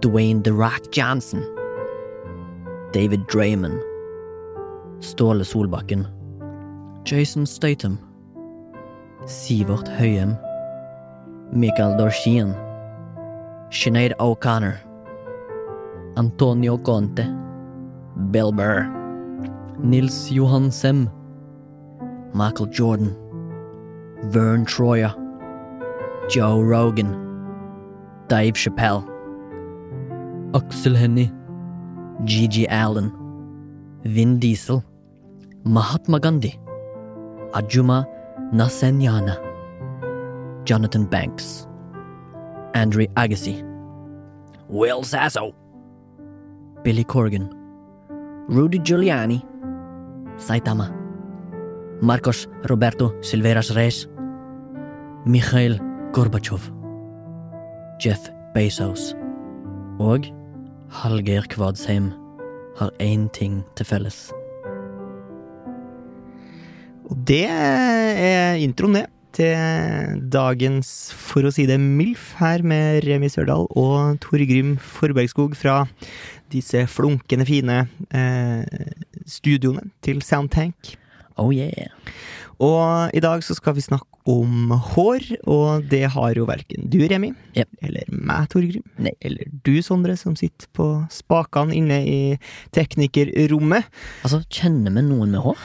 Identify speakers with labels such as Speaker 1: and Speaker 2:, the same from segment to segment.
Speaker 1: Dwayne The Rock Johnson. David Draymond. Ståle Solbakken. Jason Statham. Sivert Høyem. Michael Dorshien. Sinead O'Connor. Antonio Conte. Bill Burr. Nils Johan Sem. Michael Jordan. Vern Troyer. Joe Rogan. Dave Chappelle. Aksel Hennie, Gigi Allen, Vin Diesel, Mahatma Gandhi, Ajuma Nassenyana, Jonathan Banks, Andre Agassi, Will Sasso, Billy Corgan, Rudy Giuliani, Saitama, Marcos Roberto Silveras Reyes, Mikhail Gorbachev, Jeff Bezos. Og Hallgeir Kvadsheim har én ting til felles.
Speaker 2: Og det er introen, det. Til dagens, for å si det, MILF her med Remi Sørdal og Tor Grym Forbergskog fra disse flunkende fine eh, studioene til Soundtank.
Speaker 1: Oh yeah.
Speaker 2: Og i dag så skal vi snakke om hår, og det har jo verken du, Remi,
Speaker 1: Jep.
Speaker 2: eller meg, Tor Grym,
Speaker 1: Nei.
Speaker 2: eller du, Sondre, som sitter på spakene inne i teknikerrommet.
Speaker 1: Altså, kjenner vi noen med hår?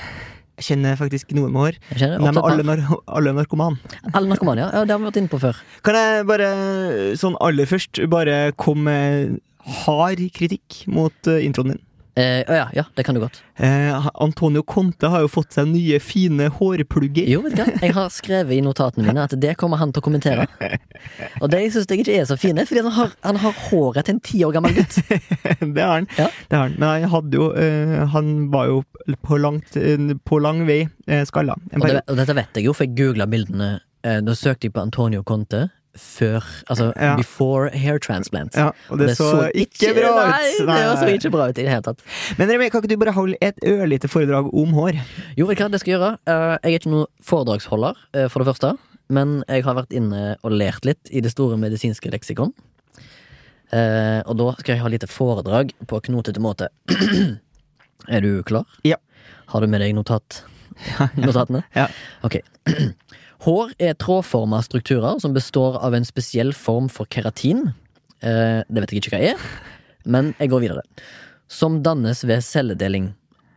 Speaker 2: Jeg kjenner faktisk noen med hår.
Speaker 1: Jeg kjenner
Speaker 2: Nei, men
Speaker 1: opptatt
Speaker 2: alle,
Speaker 1: av-
Speaker 2: nar alle narkoman.
Speaker 1: alle narkomane, ja. ja. Det har vi vært inne på før.
Speaker 2: Kan jeg bare sånn aller først bare komme med hard kritikk mot eh, introen din?
Speaker 1: Eh, å ja, ja, det kan du godt.
Speaker 2: Eh, Antonio Conte har jo fått seg nye, fine hårplugger.
Speaker 1: Jo, vet du hva? Jeg har skrevet i notatene mine at det kommer han til å kommentere. Og de syns jeg ikke er så fine, fordi han har, han har håret til en ti år gammel gutt.
Speaker 2: det har han.
Speaker 1: Ja.
Speaker 2: Det har han. Men han hadde jo eh, Han var jo på, langt, eh, på lang vei eh, skalla. En
Speaker 1: Og, det,
Speaker 2: periode.
Speaker 1: og dette vet jeg jo, for jeg googla bildene. Eh, da søkte jeg på Antonio Conte før Altså
Speaker 2: Ja.
Speaker 1: before hair transplant.
Speaker 2: Ja, og det, så, ikke bra ut!
Speaker 1: Nei, det så ikke bra ut i det hele tatt.
Speaker 2: Men Remi, kan ikke du bare holde et ørlite foredrag om hår?
Speaker 1: Jo, vet du hva det skal jeg gjøre? Eh, Jeg er ikke noen foredragsholder, eh, for det første. Men jeg har vært inne og lært litt i det store medisinske leksikon. Eh, Og da skal jeg ha lite foredrag på knotete måte. Er du klar?
Speaker 2: Ja.
Speaker 1: Har du med deg notat? notatene?
Speaker 2: Ja.
Speaker 1: Ok. Hår er trådforma strukturer som består av en spesiell form for keratin. Eh, Det vet jeg ikke hva er, men jeg går videre. Som dannes ved celledeling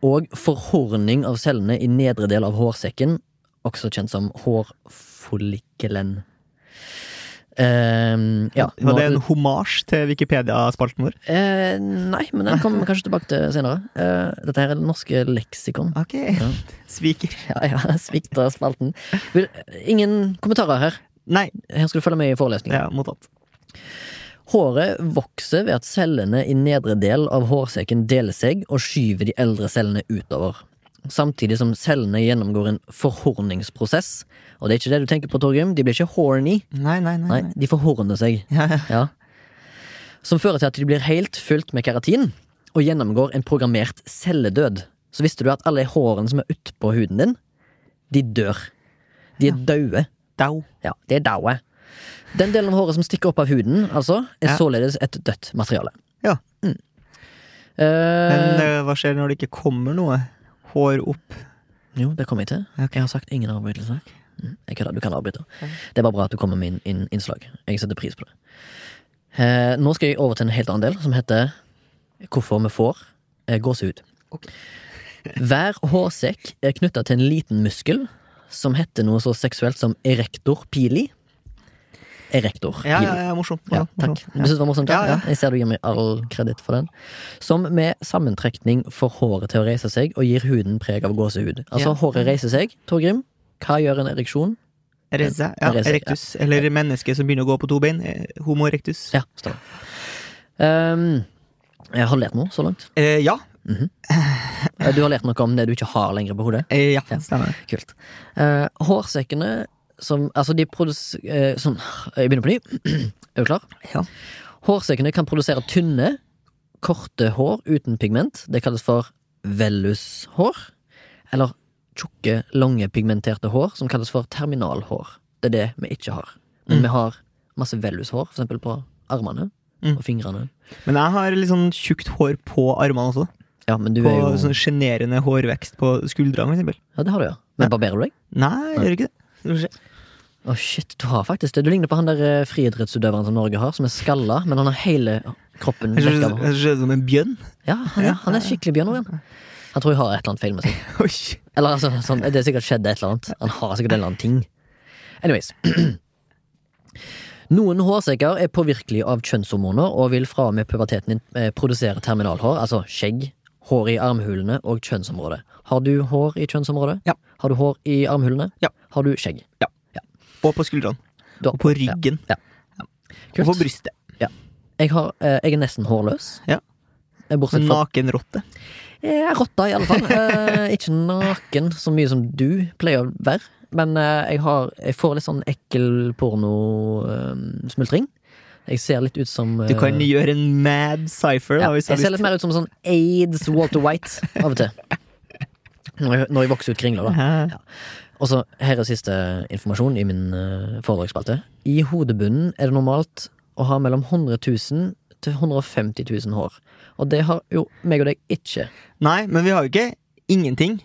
Speaker 1: og forhorning av cellene i nedre del av hårsekken, også kjent som hårfollikelen. Ehm, ja,
Speaker 2: Var det
Speaker 1: nå-
Speaker 2: en homasj til Wikipedia-spalten vår?
Speaker 1: Eh, nei, men den kommer vi kanskje tilbake til senere. Eh, dette her er det norske leksikon.
Speaker 2: Ok, sviker.
Speaker 1: Ja, ja, svikta spalten. Vil, ingen kommentarer her.
Speaker 2: Nei,
Speaker 1: Her skal du følge med i forelesningen.
Speaker 2: ja, mottatt.
Speaker 1: Håret vokser ved at cellene i nedre del av hårsekken deler seg og skyver de eldre cellene utover. Samtidig som cellene gjennomgår en forhorningsprosess. Og det er ikke det du tenker på, Torgrim. De blir ikke horny.
Speaker 2: Nei, nei, nei.
Speaker 1: Nei,
Speaker 2: nei.
Speaker 1: de forhorner seg.
Speaker 2: Ja, ja.
Speaker 1: Ja. Som fører til at de blir helt fylt med keratin og gjennomgår en programmert celledød. Så visste du at alle hårene som er utpå huden din, de dør. De er daue.
Speaker 2: Dau.
Speaker 1: Ja, de er daue. Den delen av håret som stikker opp av huden, altså, er
Speaker 2: Ja.
Speaker 1: således et dødt materiale.
Speaker 2: Ja.
Speaker 1: Mm. Eh,
Speaker 2: Men eh, hva skjer når det ikke kommer noe hår opp?
Speaker 1: jo, det kommer jeg til.
Speaker 2: Ok.
Speaker 1: Jeg har sagt ingen avbrytelser. Mm, Jeg kødder, du kan avbryte. Det er bare bra at du kommer med inn, inn, innslag. Jeg setter pris på det. Eh, nå skal jeg over til en helt annen del, som heter Hvorfor vi får eh, gåsehud.
Speaker 2: Ok.
Speaker 1: Hver hårsekk er knytta til en liten muskel som heter noe så seksuelt som erector pili. Erector pili.
Speaker 2: Ja, ja, ja morsomt.
Speaker 1: Ja,
Speaker 2: morsomt,
Speaker 1: takk.
Speaker 2: morsomt.
Speaker 1: Du synes det var morsomt? Ja,
Speaker 2: Ja, ja.
Speaker 1: Jeg ser du gir meg all kreditt for den. Som med sammentrekning får håret til å reise seg og gir huden preg av gåsehud. Altså,
Speaker 2: Ja.
Speaker 1: håret reiser seg. Torgrim, hva gjør en ereksjon?
Speaker 2: Reza, ja,
Speaker 1: Reza, ja.
Speaker 2: erectus. Eller menneske som begynner å gå på to bein. eh, Homo erectus.
Speaker 1: Ja, står det. Ehm, Jeg har lært noe så langt.
Speaker 2: Eh, ja.
Speaker 1: Eh, Du har lært noe om det du ikke har lenger på hodet.
Speaker 2: Eh, ja. Stemmer det.
Speaker 1: Kult. Eh, hårsekkene som Altså, de produs... Eh, sånn, jeg begynner på ny. er du klar?
Speaker 2: Ja.
Speaker 1: Hårsekkene kan produsere tynne, korte hår uten pigment. Det kalles for vellushår. Eller tjukke, lange, pigmenterte hår, som kalles for terminalhår. Det er det vi ikke har. Men vi har masse vellushår, for eksempel på armene
Speaker 2: Mm.
Speaker 1: og fingrene.
Speaker 2: Men jeg har litt sånn tjukt hår på armene også.
Speaker 1: Ja, men du
Speaker 2: På
Speaker 1: er jo
Speaker 2: sånn sjenerende hårvekst på skuldrene, for eksempel.
Speaker 1: Ja, det har du, ja. Men barberer du deg?
Speaker 2: Nei, jeg gjør ikke det. Skal vi se.
Speaker 1: Å, shit, du har faktisk det. Du ligner på han der eh, friidrettsutøveren som Norge har, som er skalla, men han har hele kroppen
Speaker 2: Jeg
Speaker 1: dekka
Speaker 2: ser
Speaker 1: av hår.
Speaker 2: jeg ser ut som en bjønn.
Speaker 1: Ja, han, er- han er skikkelig Bjørn Oven. Han tror jeg har et eller annet feil med seg.
Speaker 2: Oi.
Speaker 1: Eller altså, sånn, det er sikkert skjedd et eller annet. Han har sikkert en eller annen ting. Anyways. Noen hårsekker er påvirkelige av kjønnshormoner og vil fra og med puberteten din eh, produsere terminalhår, altså skjegg, hår i armhulene og kjønnsområdet. Har du hår i kjønnsområdet?
Speaker 2: Ja.
Speaker 1: Har du hår i armhulene?
Speaker 2: Ja.
Speaker 1: Har du skjegg?
Speaker 2: Og på skuldrene.
Speaker 1: Du har-
Speaker 2: Og på ryggen.
Speaker 1: Ja.
Speaker 2: Og på
Speaker 1: Kult.
Speaker 2: brystet.
Speaker 1: Jeg, har, eh, jeg er nesten hårløs.
Speaker 2: Ja.
Speaker 1: Eh, Bortsett
Speaker 2: En
Speaker 1: fra
Speaker 2: Sånn nakenrotte.
Speaker 1: Jeg er rotta, i alle fall. Eh, ikke naken så mye som du pleier å være. Men eh, jeg, har, jeg får litt sånn ekkel pornosmultring. jeg ser litt ut som eh,
Speaker 2: Du kan gjøre en mad cypher.
Speaker 1: ja,
Speaker 2: da, hvis du
Speaker 1: Jeg
Speaker 2: har
Speaker 1: ser
Speaker 2: lyst.
Speaker 1: litt mer ut som sånn aids Walter White av og til. Når jeg, når jeg vokser ut kringler, da.
Speaker 2: Hæ?
Speaker 1: Og så her er siste informasjon i min eh, foredragsspalte. I hodebunnen er det normalt å ha mellom 100 000 til 150 000 hår. Og det har jo meg og deg ikke.
Speaker 2: Nei, men vi har jo ikke ingenting.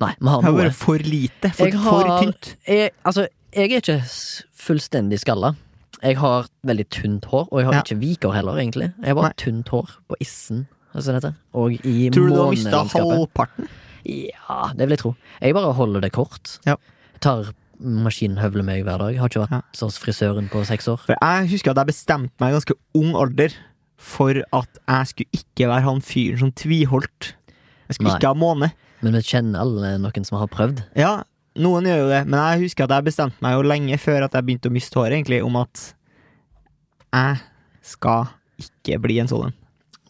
Speaker 1: Nei, vi har
Speaker 2: Vi har
Speaker 1: noe.
Speaker 2: bare for lite. For,
Speaker 1: Jeg
Speaker 2: for
Speaker 1: har-
Speaker 2: tynt.
Speaker 1: jeg, altså, jeg er ikke s- fullstendig skalla. Jeg har veldig tynt hår, og jeg har
Speaker 2: Ja.
Speaker 1: ikke viker heller, egentlig. Jeg har bare tynt hår på issen, som det heter. Og i
Speaker 2: Tror du du har mista
Speaker 1: månelandskapet.
Speaker 2: halvparten?
Speaker 1: Ja, det vil jeg tro. Jeg bare holder det kort.
Speaker 2: Ja.
Speaker 1: Tar maskinhøvler meg hver dag. Jeg har ikke vært
Speaker 2: Ja.
Speaker 1: hos frisøren på seks år.
Speaker 2: For jeg husker at jeg bestemte meg i ganske ung alder for at jeg skulle ikke være han fyren som tviholdt. Jeg skulle
Speaker 1: Nei.
Speaker 2: ikke ha måne.
Speaker 1: Men vi kjenner alle noen som har prøvd.
Speaker 2: Ja, noen gjør jo det, men jeg husker at jeg bestemte meg jo lenge før at jeg begynte å miste håret, egentlig, om at jeg skal ikke bli en sånn en.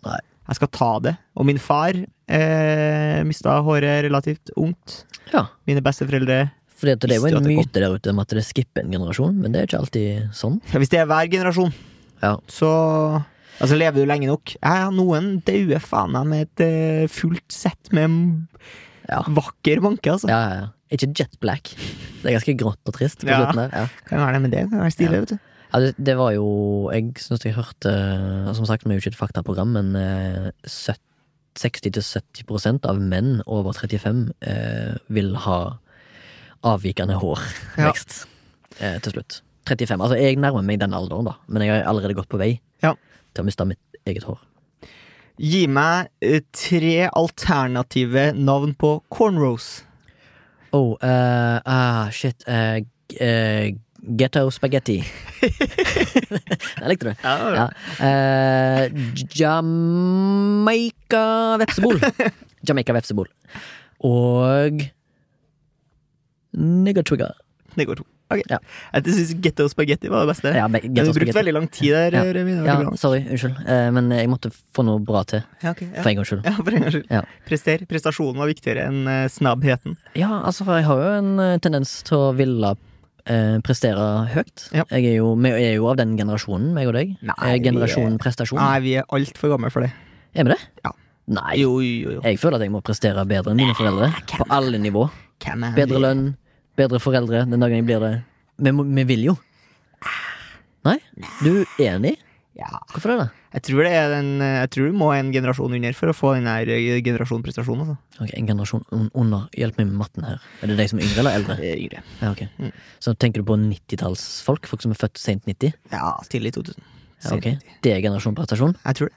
Speaker 1: Nei.
Speaker 2: Jeg skal ta det. Og min far eh, mista håret relativt ungt.
Speaker 1: Ja.
Speaker 2: Mine besteforeldre
Speaker 1: For det er jo
Speaker 2: Visste
Speaker 1: en
Speaker 2: at det kom.
Speaker 1: myte der ute om at det skipper en generasjon, men det er ikke alltid sånn.
Speaker 2: Ja, Hvis det er hver generasjon,
Speaker 1: Ja.
Speaker 2: så Altså, lever du lenge nok? Ja, ja, noen dauer faen meg med et eh, fullt sett med m-
Speaker 1: Ja.
Speaker 2: vakker manke, altså.
Speaker 1: Ja, ja, ja. Ikke jet black. Det er ganske grått og trist på
Speaker 2: Ja.
Speaker 1: slutten der. Ja.
Speaker 2: Kan være det med det. Kan være stilig,
Speaker 1: Ja.
Speaker 2: vet du.
Speaker 1: Ja, det, det var jo Jeg syns jeg hørte eh, Som sagt, vi er jo ikke et faktaprogram, men eh, søt- 60-70 av menn over 35 eh, vil ha avvikende
Speaker 2: Ja.
Speaker 1: hårvekst eh, til slutt. 35. Altså, jeg nærmer meg den alderen, da, men jeg er allerede godt på vei
Speaker 2: Ja.
Speaker 1: til å miste mitt eget hår.
Speaker 2: Gi meg eh, tre alternative navn på cornrows.
Speaker 1: Oh, eh, ah, shit eh, g- eh, Ghetto spaghetti. Der likte du. Ja. Eh, Jamaica vepsebol. Jamaica vepsebol. Og Nigger trigger.
Speaker 2: Det går to. Ok.
Speaker 1: Ja.
Speaker 2: Jeg syns getto spagetti var det beste.
Speaker 1: Ja, men
Speaker 2: Men
Speaker 1: ghetto
Speaker 2: du brukte
Speaker 1: spaghetti.
Speaker 2: veldig lang tid der.
Speaker 1: Ja.
Speaker 2: Remi. Det var
Speaker 1: Ja,
Speaker 2: bra.
Speaker 1: sorry. Unnskyld. Eh, men jeg måtte få noe bra til.
Speaker 2: Ja, ok, ja.
Speaker 1: For en gangs skyld.
Speaker 2: ja, for en gangs skyld.
Speaker 1: Ja.
Speaker 2: Prester. Prestasjonen var viktigere enn eh, snabbheten.
Speaker 1: Ja, altså, jeg har jo en eh, tendens til å ville eh, prestere høyt.
Speaker 2: Ja.
Speaker 1: Jeg er jo, vi er jo av den generasjonen, meg og deg.
Speaker 2: Nei,
Speaker 1: Eh,
Speaker 2: vi er-
Speaker 1: Generasjonen prestasjon.
Speaker 2: Nei, vi er altfor gamle for det.
Speaker 1: Er vi det?
Speaker 2: Ja.
Speaker 1: Nei.
Speaker 2: Jo, jo, jo.
Speaker 1: Jeg føler at jeg må prestere bedre enn mine foreldre. På alle nivå.
Speaker 2: Hvem er
Speaker 1: Bedre
Speaker 2: vi?
Speaker 1: lønn, bedre foreldre den dagen jeg blir det. Men må- vi vil jo. Nei? Du er enig?
Speaker 2: Ja.
Speaker 1: Hvorfor det? da?
Speaker 2: Jeg tror, det er den, jeg tror du må en generasjon under for å få den her eh, generasjonprestasjonen. Altså.
Speaker 1: Ok, En generasjon un- under. Hjelp meg med matten her. Er det de som er yngre eller eldre?
Speaker 2: Eh, Yngre.
Speaker 1: Ja, ok Så tenker du på 90-tallsfolk? Folk som er født sent 90?
Speaker 2: Ja, tidlig 2000.
Speaker 1: Ja, ok Det er generasjon prestasjon?
Speaker 2: Jeg tror det.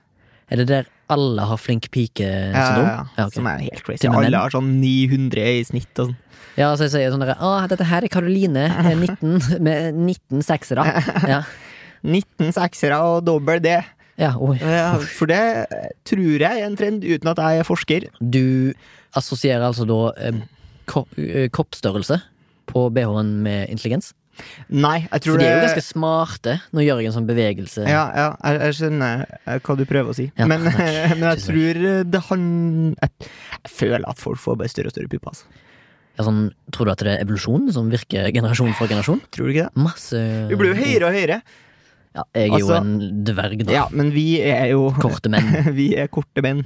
Speaker 1: Er det der alle har flink
Speaker 2: Ja, ja,
Speaker 1: pike-syndrom?
Speaker 2: ja.
Speaker 1: Ja, ok.
Speaker 2: Som er helt crazy.
Speaker 1: Til og med
Speaker 2: Alle har sånn 900 i snitt og sånn.
Speaker 1: Ja, så jeg sier sånn derre Å, dette her er Karoline, eh, 19, med 19 seksere. Ja.
Speaker 2: 19 seksere og dobbel det.
Speaker 1: ja, oi.
Speaker 2: Eh, For det eh, tror jeg er en trend, uten at jeg er forsker.
Speaker 1: Du assosierer altså da eh, ko eh, kroppsstørrelse på BH-en med intelligens?
Speaker 2: Nei, jeg tror
Speaker 1: For de er jo
Speaker 2: det-
Speaker 1: ganske smarte. Nå gjør jeg en sånn bevegelse.
Speaker 2: Ja, ja jeg, jeg skjønner eh, hva du prøver å si.
Speaker 1: Ja,
Speaker 2: men, eh,
Speaker 1: takk.
Speaker 2: men jeg
Speaker 1: Tusen
Speaker 2: tror eh, det han jeg, jeg føler at folk får bare større og større pupper. Altså.
Speaker 1: Ja, Sånn, tror du at det er evolusjon som virker generasjon for generasjon?
Speaker 2: Tror du ikke det?
Speaker 1: Masse
Speaker 2: Vi blir jo høyere og høyere.
Speaker 1: Ja, jeg er jo
Speaker 2: Altså-
Speaker 1: en dverg, da.
Speaker 2: Ja, men vi er jo
Speaker 1: Korte menn.
Speaker 2: Vi er korte menn.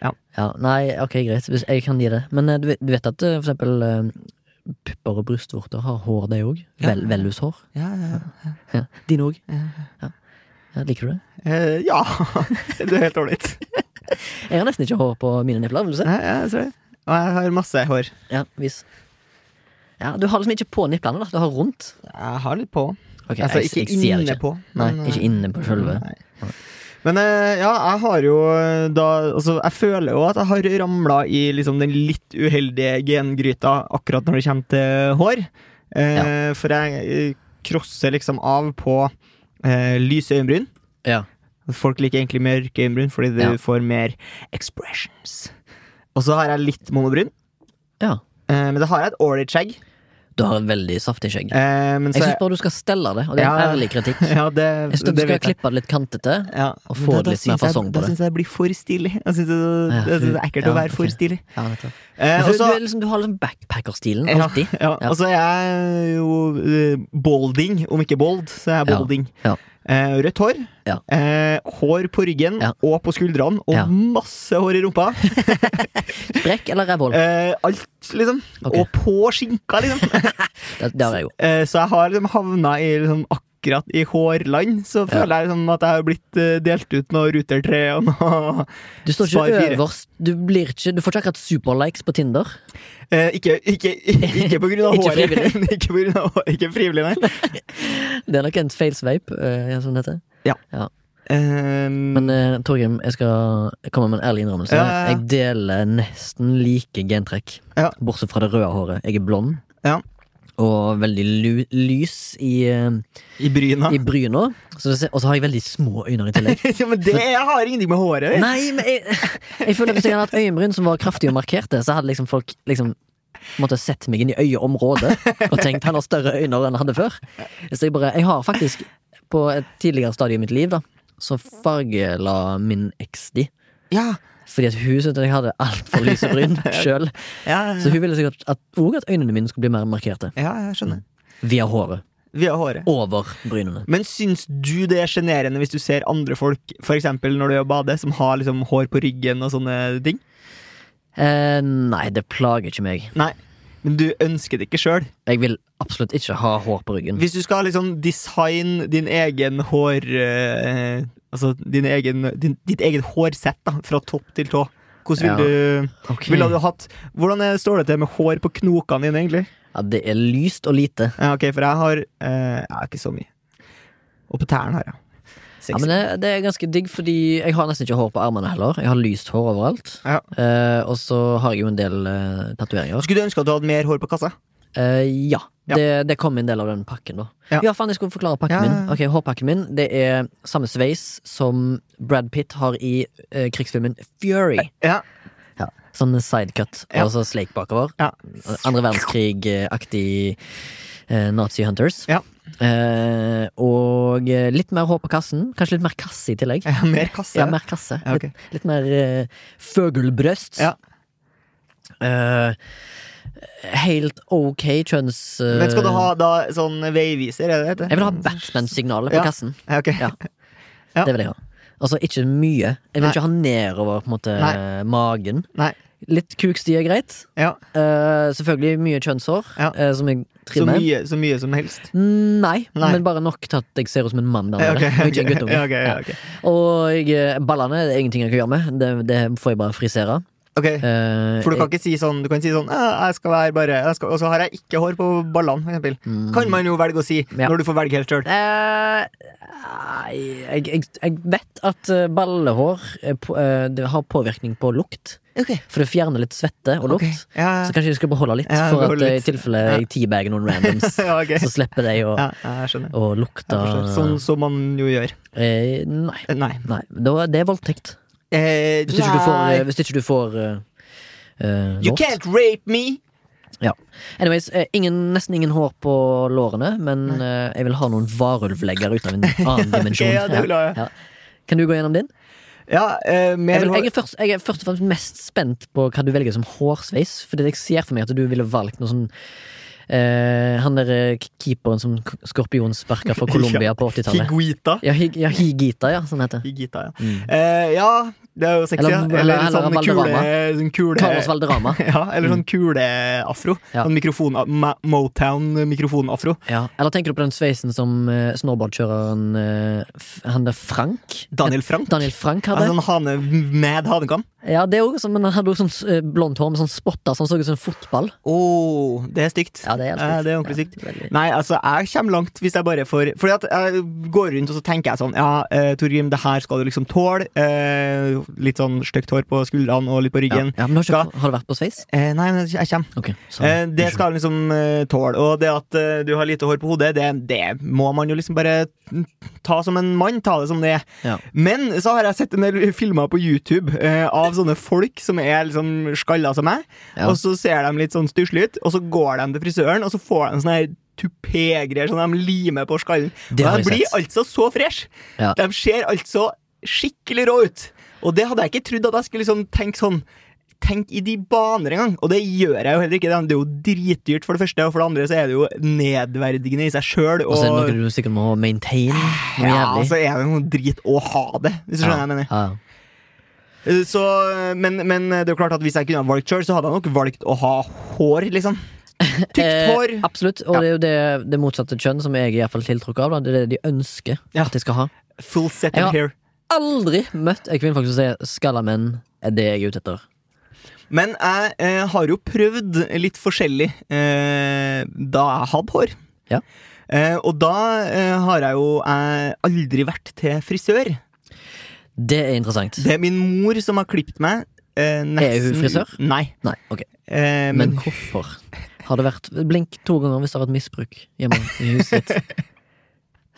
Speaker 1: Ja, nei, ok, greit. Hvis- Jeg kan gi det. Men eh, du vet, du vet at eh, for eksempel eh, pupper og brystvorter har hår, de òg?
Speaker 2: Ja.
Speaker 1: Vel, Vellushår?
Speaker 2: Ja, ja.
Speaker 1: Ja. Dine òg?
Speaker 2: Ja.
Speaker 1: Ja, liker du det?
Speaker 2: Eh, ja. det er helt ålreit.
Speaker 1: Jeg har nesten ikke hår på mine nipler. Vil du se?
Speaker 2: Ja, ja, jeg tror det. Og jeg har masse hår.
Speaker 1: Ja, vis. Ja, du har liksom ikke på niplene, da. Du har rundt.
Speaker 2: Jeg har litt på.
Speaker 1: Ok,
Speaker 2: altså,
Speaker 1: jeg-
Speaker 2: ikke
Speaker 1: jeg ser det
Speaker 2: inne på.
Speaker 1: Nei,
Speaker 2: men, eh,
Speaker 1: ikke inne på sjølve.
Speaker 2: Nei. Men eh, ja, jeg har jo eh, da Altså, jeg føler jo at jeg har ramla i liksom den litt uheldige gengryta akkurat når det kommer til hår. Eh, For jeg eh, krosser liksom av på eh, lyse øyenbryn.
Speaker 1: Ja.
Speaker 2: Folk liker egentlig mørke øyenbryn fordi du
Speaker 1: Ja.
Speaker 2: får mer expressions. Og så har jeg litt monobryn,
Speaker 1: ja.
Speaker 2: eh, men det har jeg et ålreit skjegg.
Speaker 1: Du har et veldig saftig skjegg.
Speaker 2: Eh, men
Speaker 1: Jeg
Speaker 2: så
Speaker 1: syns bare du skal stelle det, og det er en
Speaker 2: Ja.
Speaker 1: ærlig kritikk.
Speaker 2: ja, det,
Speaker 1: Jeg synes at Du
Speaker 2: det
Speaker 1: skal
Speaker 2: vet jeg.
Speaker 1: klippe det litt kantete.
Speaker 2: Ja.
Speaker 1: og
Speaker 2: men
Speaker 1: få
Speaker 2: da-
Speaker 1: det
Speaker 2: da
Speaker 1: litt mer
Speaker 2: syns jeg-
Speaker 1: fasong på
Speaker 2: Da
Speaker 1: det.
Speaker 2: syns jeg jeg blir for stilig. Jeg syns det,
Speaker 1: Ja,
Speaker 2: jeg synes det
Speaker 1: for-
Speaker 2: er ekkelt
Speaker 1: ja,
Speaker 2: å være
Speaker 1: ok.
Speaker 2: for stilig.
Speaker 1: Ja, nettopp.
Speaker 2: Eh,
Speaker 1: For
Speaker 2: og
Speaker 1: du,
Speaker 2: så-
Speaker 1: er liksom, du har liksom backpacker-stilen
Speaker 2: Ja,
Speaker 1: alltid.
Speaker 2: Ja,
Speaker 1: Ja.
Speaker 2: og så er jeg jo eh, balding, om ikke bold, så er jeg
Speaker 1: Ja,
Speaker 2: balding.
Speaker 1: ja.
Speaker 2: Eh, rødt hår,
Speaker 1: Ja.
Speaker 2: eh, hår på ryggen
Speaker 1: Ja.
Speaker 2: og på skuldrene, og
Speaker 1: Ja.
Speaker 2: masse hår i rumpa.
Speaker 1: Sprekk eller rævhold?
Speaker 2: Eh, alt, liksom.
Speaker 1: Ok.
Speaker 2: Og på skinka, liksom.
Speaker 1: Det, det har jeg jo.
Speaker 2: Eh, så jeg har liksom havna i liksom akkurat i hårland, så
Speaker 1: Ja.
Speaker 2: føler jeg liksom at jeg har blitt eh, delt ut noe Ruter 3 og noe
Speaker 1: Du står
Speaker 2: Spar
Speaker 1: ikke
Speaker 2: fire.
Speaker 1: øverst. Du, blir ikke, du får ikke akkurat superlikes på Tinder.
Speaker 2: eh, ikke, ikke, ikke på grunn av
Speaker 1: Ikke
Speaker 2: håret.
Speaker 1: frivillig.
Speaker 2: ikke, på grunn av, håret, ikke frivillig, nei.
Speaker 1: Det er nok en feilsveip, eh, som det heter.
Speaker 2: Eh,
Speaker 1: Men eh, Torgrim, jeg skal komme med en ærlig innrømmelse.
Speaker 2: Ja, ja, ja.
Speaker 1: Jeg deler nesten like gentrekk.
Speaker 2: Ja.
Speaker 1: Bortsett fra det røde håret. Jeg er blond.
Speaker 2: Ja.
Speaker 1: Og veldig lu lys i, eh,
Speaker 2: I bryna.
Speaker 1: i bryna. Så det ser- Og så har jeg veldig små øyne i tillegg.
Speaker 2: ja, men det har ingenting med håret å gjøre.
Speaker 1: Nei, men jeg, jeg føler at hvis jeg hadde hatt øyenbryn som var kraftige og markerte, så hadde liksom folk liksom måtte sett meg inn i øyeområdet og tenkt han har større øyne enn han hadde før. Så jeg bare, jeg har faktisk på et tidligere stadium i mitt liv da, så fargela min eks de.
Speaker 2: Ja,
Speaker 1: Fordi at hun syntes at jeg hadde altfor lyse bryn sjøl.
Speaker 2: ja,
Speaker 1: Så hun ville sikkert at, også at øynene mine skulle bli mer markerte.
Speaker 2: ja, jeg skjønner.
Speaker 1: Via håret.
Speaker 2: Via håret.
Speaker 1: Over brynene.
Speaker 2: Men syns du det er sjenerende hvis du ser andre folk, f.eks. når du er og bader, som har liksom hår på ryggen og sånne ting?
Speaker 1: Eh, nei, det plager ikke meg.
Speaker 2: Nei. Men du ønsker det ikke sjøl.
Speaker 1: Jeg vil absolutt ikke ha hår på ryggen.
Speaker 2: Hvis du skal liksom designe din egen hår eh, Altså din egen, din, ditt eget hårsett da, fra topp til tå, hvordan vil du
Speaker 1: Ok.
Speaker 2: ville du hatt Hvordan er, står det til med hår på knokene dine, egentlig?
Speaker 1: Ja, det er lyst og lite.
Speaker 2: Ja, ok, for jeg har eh, Jeg har ikke så mye. Og på tærne har jeg.
Speaker 1: Ja, men det, det er ganske digg, fordi jeg har nesten ikke hår på armene heller. Jeg har lyst hår overalt.
Speaker 2: Ja.
Speaker 1: Eh, og så har jeg jo en del eh, tatoveringer.
Speaker 2: Skulle du ønske at du hadde mer hår på kassa?
Speaker 1: Eh, ja,
Speaker 2: Ja.
Speaker 1: Det, det kom en del av den pakken, da.
Speaker 2: Ja.
Speaker 1: Ja, faen, jeg skulle forklare pakken
Speaker 2: Ja, ja,
Speaker 1: min.
Speaker 2: ja.
Speaker 1: Ok, Hårpakken min det er samme sveis som Brad Pitt har i eh, krigsfilmen Fury.
Speaker 2: Ja,
Speaker 1: Sånn sidecut,
Speaker 2: Ja.
Speaker 1: og så sleik bakover.
Speaker 2: ja.
Speaker 1: Andre verdenskrig-aktig eh, Nazi Hunters.
Speaker 2: Ja.
Speaker 1: Eh, og eh, litt mer hår på kassen. Kanskje litt mer kasse i tillegg.
Speaker 2: Ja, mer kasse.
Speaker 1: Ja, mer kasse.
Speaker 2: Ja, ok.
Speaker 1: litt, litt mer uh, føgelbrøst.
Speaker 2: Ja.
Speaker 1: Eh, helt ok kjønns... eh,
Speaker 2: Men skal du ha da sånn veiviser, er det det heter?
Speaker 1: Jeg vil ha Batman-signalet på
Speaker 2: Ja.
Speaker 1: kassen.
Speaker 2: Ja, ok.
Speaker 1: Ja.
Speaker 2: Ja.
Speaker 1: Det vil jeg ha. Altså ikke mye. Jeg vil
Speaker 2: Nei.
Speaker 1: ikke ha nedover på en måte
Speaker 2: Nei.
Speaker 1: magen.
Speaker 2: Nei.
Speaker 1: Litt kukstie er greit.
Speaker 2: Ja.
Speaker 1: Eh, selvfølgelig mye kjønnshår,
Speaker 2: Ja.
Speaker 1: eh, som jeg
Speaker 2: Så
Speaker 1: trimmer.
Speaker 2: mye, så mye som helst.
Speaker 1: Nei,
Speaker 2: Nei.
Speaker 1: men bare nok til at jeg ser ut som en mann. Der,
Speaker 2: Ja, ok,
Speaker 1: nede, og ikke en guttunge.
Speaker 2: ja, ok, ja, ok.
Speaker 1: Ja. Og jeg, eh, ballene det er ingenting jeg kan gjøre med. Det, det får jeg bare frisere.
Speaker 2: Ok,
Speaker 1: Eh,
Speaker 2: For du kan ikke si sånn Du kan si sånn «Eh, Jeg skal være bare jeg skal, Og så har jeg ikke hår på ballene, for eksempel. Kan man jo velge å si
Speaker 1: Mm. Ja.
Speaker 2: når du får velge helt sjøl.
Speaker 1: Eh, jeg, jeg, jeg vet at eh, ballehår eh, på, eh, det har påvirkning på lukt. For det fjerner litt svette og lukt.
Speaker 2: Ok. Ja,
Speaker 1: Så kanskje jeg skal beholde litt,
Speaker 2: Ja,
Speaker 1: for at
Speaker 2: beholde
Speaker 1: eh, i
Speaker 2: litt.
Speaker 1: tilfelle jeg teabager noen randoms,
Speaker 2: ja, ok.
Speaker 1: så slipper de å,
Speaker 2: ja, jeg skjønner.
Speaker 1: å
Speaker 2: Jeg
Speaker 1: lukte
Speaker 2: forstår. Sånn som man jo gjør.
Speaker 1: eh, Nei.
Speaker 2: Eh, Nei.
Speaker 1: nei. Da, det er voldtekt.
Speaker 2: Eh,
Speaker 1: Hvis ikke du får,
Speaker 2: nei.
Speaker 1: eh, hvis ikke du får eh, eh,
Speaker 2: You
Speaker 1: lov.
Speaker 2: can't rape me!
Speaker 1: Anyways, eh, ingen, nesten ingen hår på lårene, men eh, jeg vil ha noen varulvlegger ut av en annen dimensjon.
Speaker 2: Ok, ja, det vil jeg.
Speaker 1: Ja. Kan du gå gjennom din?
Speaker 2: Ja, eh, mer
Speaker 1: Jeg, vil,
Speaker 2: hår-
Speaker 1: jeg, er først, jeg er først og fremst mest spent på hva du velger som hårsveis. Fordi jeg ser for meg at du ville valgt noe sånn eh, Han der eh, keeperen som k- skorpion sparka for Colombia på 80-tallet.
Speaker 2: Higuita.
Speaker 1: Ja, Hig- ja, Higita, ja. Sånn heter det.
Speaker 2: Higuita, ja.
Speaker 1: Mm.
Speaker 2: Eh, ja, det er jo sexy.
Speaker 1: Eller-
Speaker 2: ja.
Speaker 1: eller-
Speaker 2: Eller,
Speaker 1: eller
Speaker 2: sånn kule,
Speaker 1: Valderrama.
Speaker 2: sånn kule
Speaker 1: Carlos Valderrama.
Speaker 2: ja, Eller sånn kuleafro.
Speaker 1: Ja.
Speaker 2: Sånn mikrofon, Ma- Motown-mikrofonafro.
Speaker 1: Ja. Eller tenker du på den sveisen som eh, snowboardkjøreren eh, f- Han der Frank?
Speaker 2: Daniel Frank.
Speaker 1: Daniel Frank
Speaker 2: Altså,
Speaker 1: hadde.
Speaker 2: sånn hane, mad hanekam.
Speaker 1: Ja, det er også, sånn, men Han hadde også sånn eh, blondt hår med sånn spotter som så ut som en fotball.
Speaker 2: Åh, Oh, det er stygt.
Speaker 1: Ja, det er, helt
Speaker 2: Eh,
Speaker 1: sykt.
Speaker 2: det er ordentlig sykt.
Speaker 1: Ja, veldig.
Speaker 2: Nei, altså, jeg kommer langt hvis jeg bare får Fordi at jeg går rundt og så tenker jeg sånn Ja, eh, Torgrim, det her skal du liksom tåle. Eh, litt sånn stygt hår på skuldrene og litt på
Speaker 1: Ja.
Speaker 2: ryggen.
Speaker 1: Ja, Sånn. men har,
Speaker 2: Skal-
Speaker 1: ikke, har du vært på sveis?
Speaker 2: Eh, nei, men jeg kommer.
Speaker 1: Ok, så-
Speaker 2: Eh, det skal han liksom eh, tåle. Og det at eh, du har lite hår på hodet, det, det må man jo liksom bare ta som en mann. Ta det som det er.
Speaker 1: Ja.
Speaker 2: Men så har jeg sett en del filmer på YouTube eh, av sånne folk som er liksom skalla som meg.
Speaker 1: Ja.
Speaker 2: Og så ser de litt sånn stusslige ut, og så går de til frisøren, og så får de sånne her tupégreier som de limer på skallen. Og
Speaker 1: Det har
Speaker 2: de
Speaker 1: jeg
Speaker 2: blir
Speaker 1: sett.
Speaker 2: altså så fresh.
Speaker 1: Ja.
Speaker 2: De ser altså skikkelig rå ut. Og det hadde jeg ikke trodd at jeg skulle liksom tenke sånn Tenk i de baner engang! Og det gjør jeg jo heller ikke. Det er jo dritdyrt, for det første, og for det andre så er det jo nedverdigende i seg sjøl.
Speaker 1: Og så er det
Speaker 2: Og
Speaker 1: noe du sikkert må maintain. Noe
Speaker 2: ja,
Speaker 1: jævlig.
Speaker 2: så er det noe drit å ha det, hvis du skjønner hva jeg mener.
Speaker 1: Ja.
Speaker 2: Eh, Så, men, men det er jo klart at hvis jeg kunne ha valgt sjøl, så hadde jeg nok valgt å ha hår, liksom. Tykt hår.
Speaker 1: Eh, absolutt, og
Speaker 2: Ja.
Speaker 1: det er jo det, det motsatte kjønn som jeg er i hvert fall tiltrukket av. Da. Det er det de ønsker
Speaker 2: Ja.
Speaker 1: at de skal ha.
Speaker 2: Full set
Speaker 1: Ja.
Speaker 2: of hair.
Speaker 1: Aldri møtt en kvinne som sier 'skalla menn er det jeg er ute etter'.
Speaker 2: Men jeg eh, har jo prøvd litt forskjellig eh, da jeg hadde hår.
Speaker 1: Ja.
Speaker 2: Eh, og da eh, har jeg jo eh, aldri vært til frisør.
Speaker 1: Det er interessant.
Speaker 2: Det er min mor som har klippet meg. Eh, nesten-
Speaker 1: hun frisør?
Speaker 2: Nei.
Speaker 1: Nei, ok.
Speaker 2: Eh,
Speaker 1: Men
Speaker 2: men,
Speaker 1: hvorfor har det vært Blink to ganger hvis det har vært misbruk hjemme i huset ditt.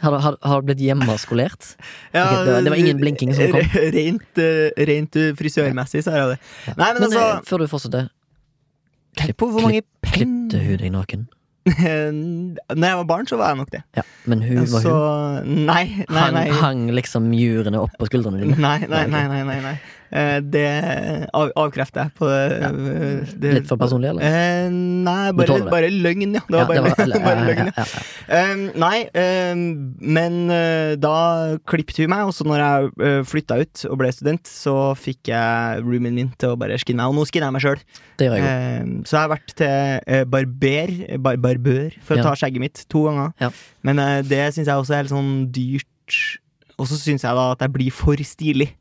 Speaker 1: Har det, har, har det blitt hjemmeskolert? ok, det var- det var ingen blinking som kom.
Speaker 2: Rent, eh, rent eh, frisørmessig, så er det det. Nei, men,
Speaker 1: Men
Speaker 2: altså
Speaker 1: eh, før du fortsetter,
Speaker 2: Tenk på hvor mange
Speaker 1: klippte
Speaker 2: penger
Speaker 1: hun deg naken?
Speaker 2: Når jeg var barn, så var jeg nok det.
Speaker 1: Ja, men hun var
Speaker 2: Så
Speaker 1: hun.
Speaker 2: Nei, nei,
Speaker 1: Hang,
Speaker 2: Altså- nei.
Speaker 1: hang liksom murene opp på skuldrene dine?
Speaker 2: Nei, nei,
Speaker 1: Nei,
Speaker 2: nei, nei, nei, nei. Eh, Det av, avkrefter jeg på det, eh, det.
Speaker 1: Litt for personlig, eller?
Speaker 2: Eh, nei, bare,
Speaker 1: tåler det?
Speaker 2: bare løgn, ja. Det var
Speaker 1: Ja,
Speaker 2: bare,
Speaker 1: det var- eller-
Speaker 2: bare
Speaker 1: ja,
Speaker 2: løgn.
Speaker 1: ja,
Speaker 2: Ja.
Speaker 1: ja,
Speaker 2: Eh, nei, eh, men eh, da klippet hun meg, og så når jeg uh, flytta ut og ble student, så fikk jeg roomien min til å bare skinne meg, og nå skinner jeg meg sjøl.
Speaker 1: ja. Det gjør jeg jo.
Speaker 2: Eh, Så jeg har vært til eh, barber, bar barbør for
Speaker 1: Ja.
Speaker 2: å ta skjegget mitt to ganger.
Speaker 1: Ja.
Speaker 2: Men eh, det syns jeg også er litt sånn dyrt. Og så syns jeg da at jeg blir for stilig.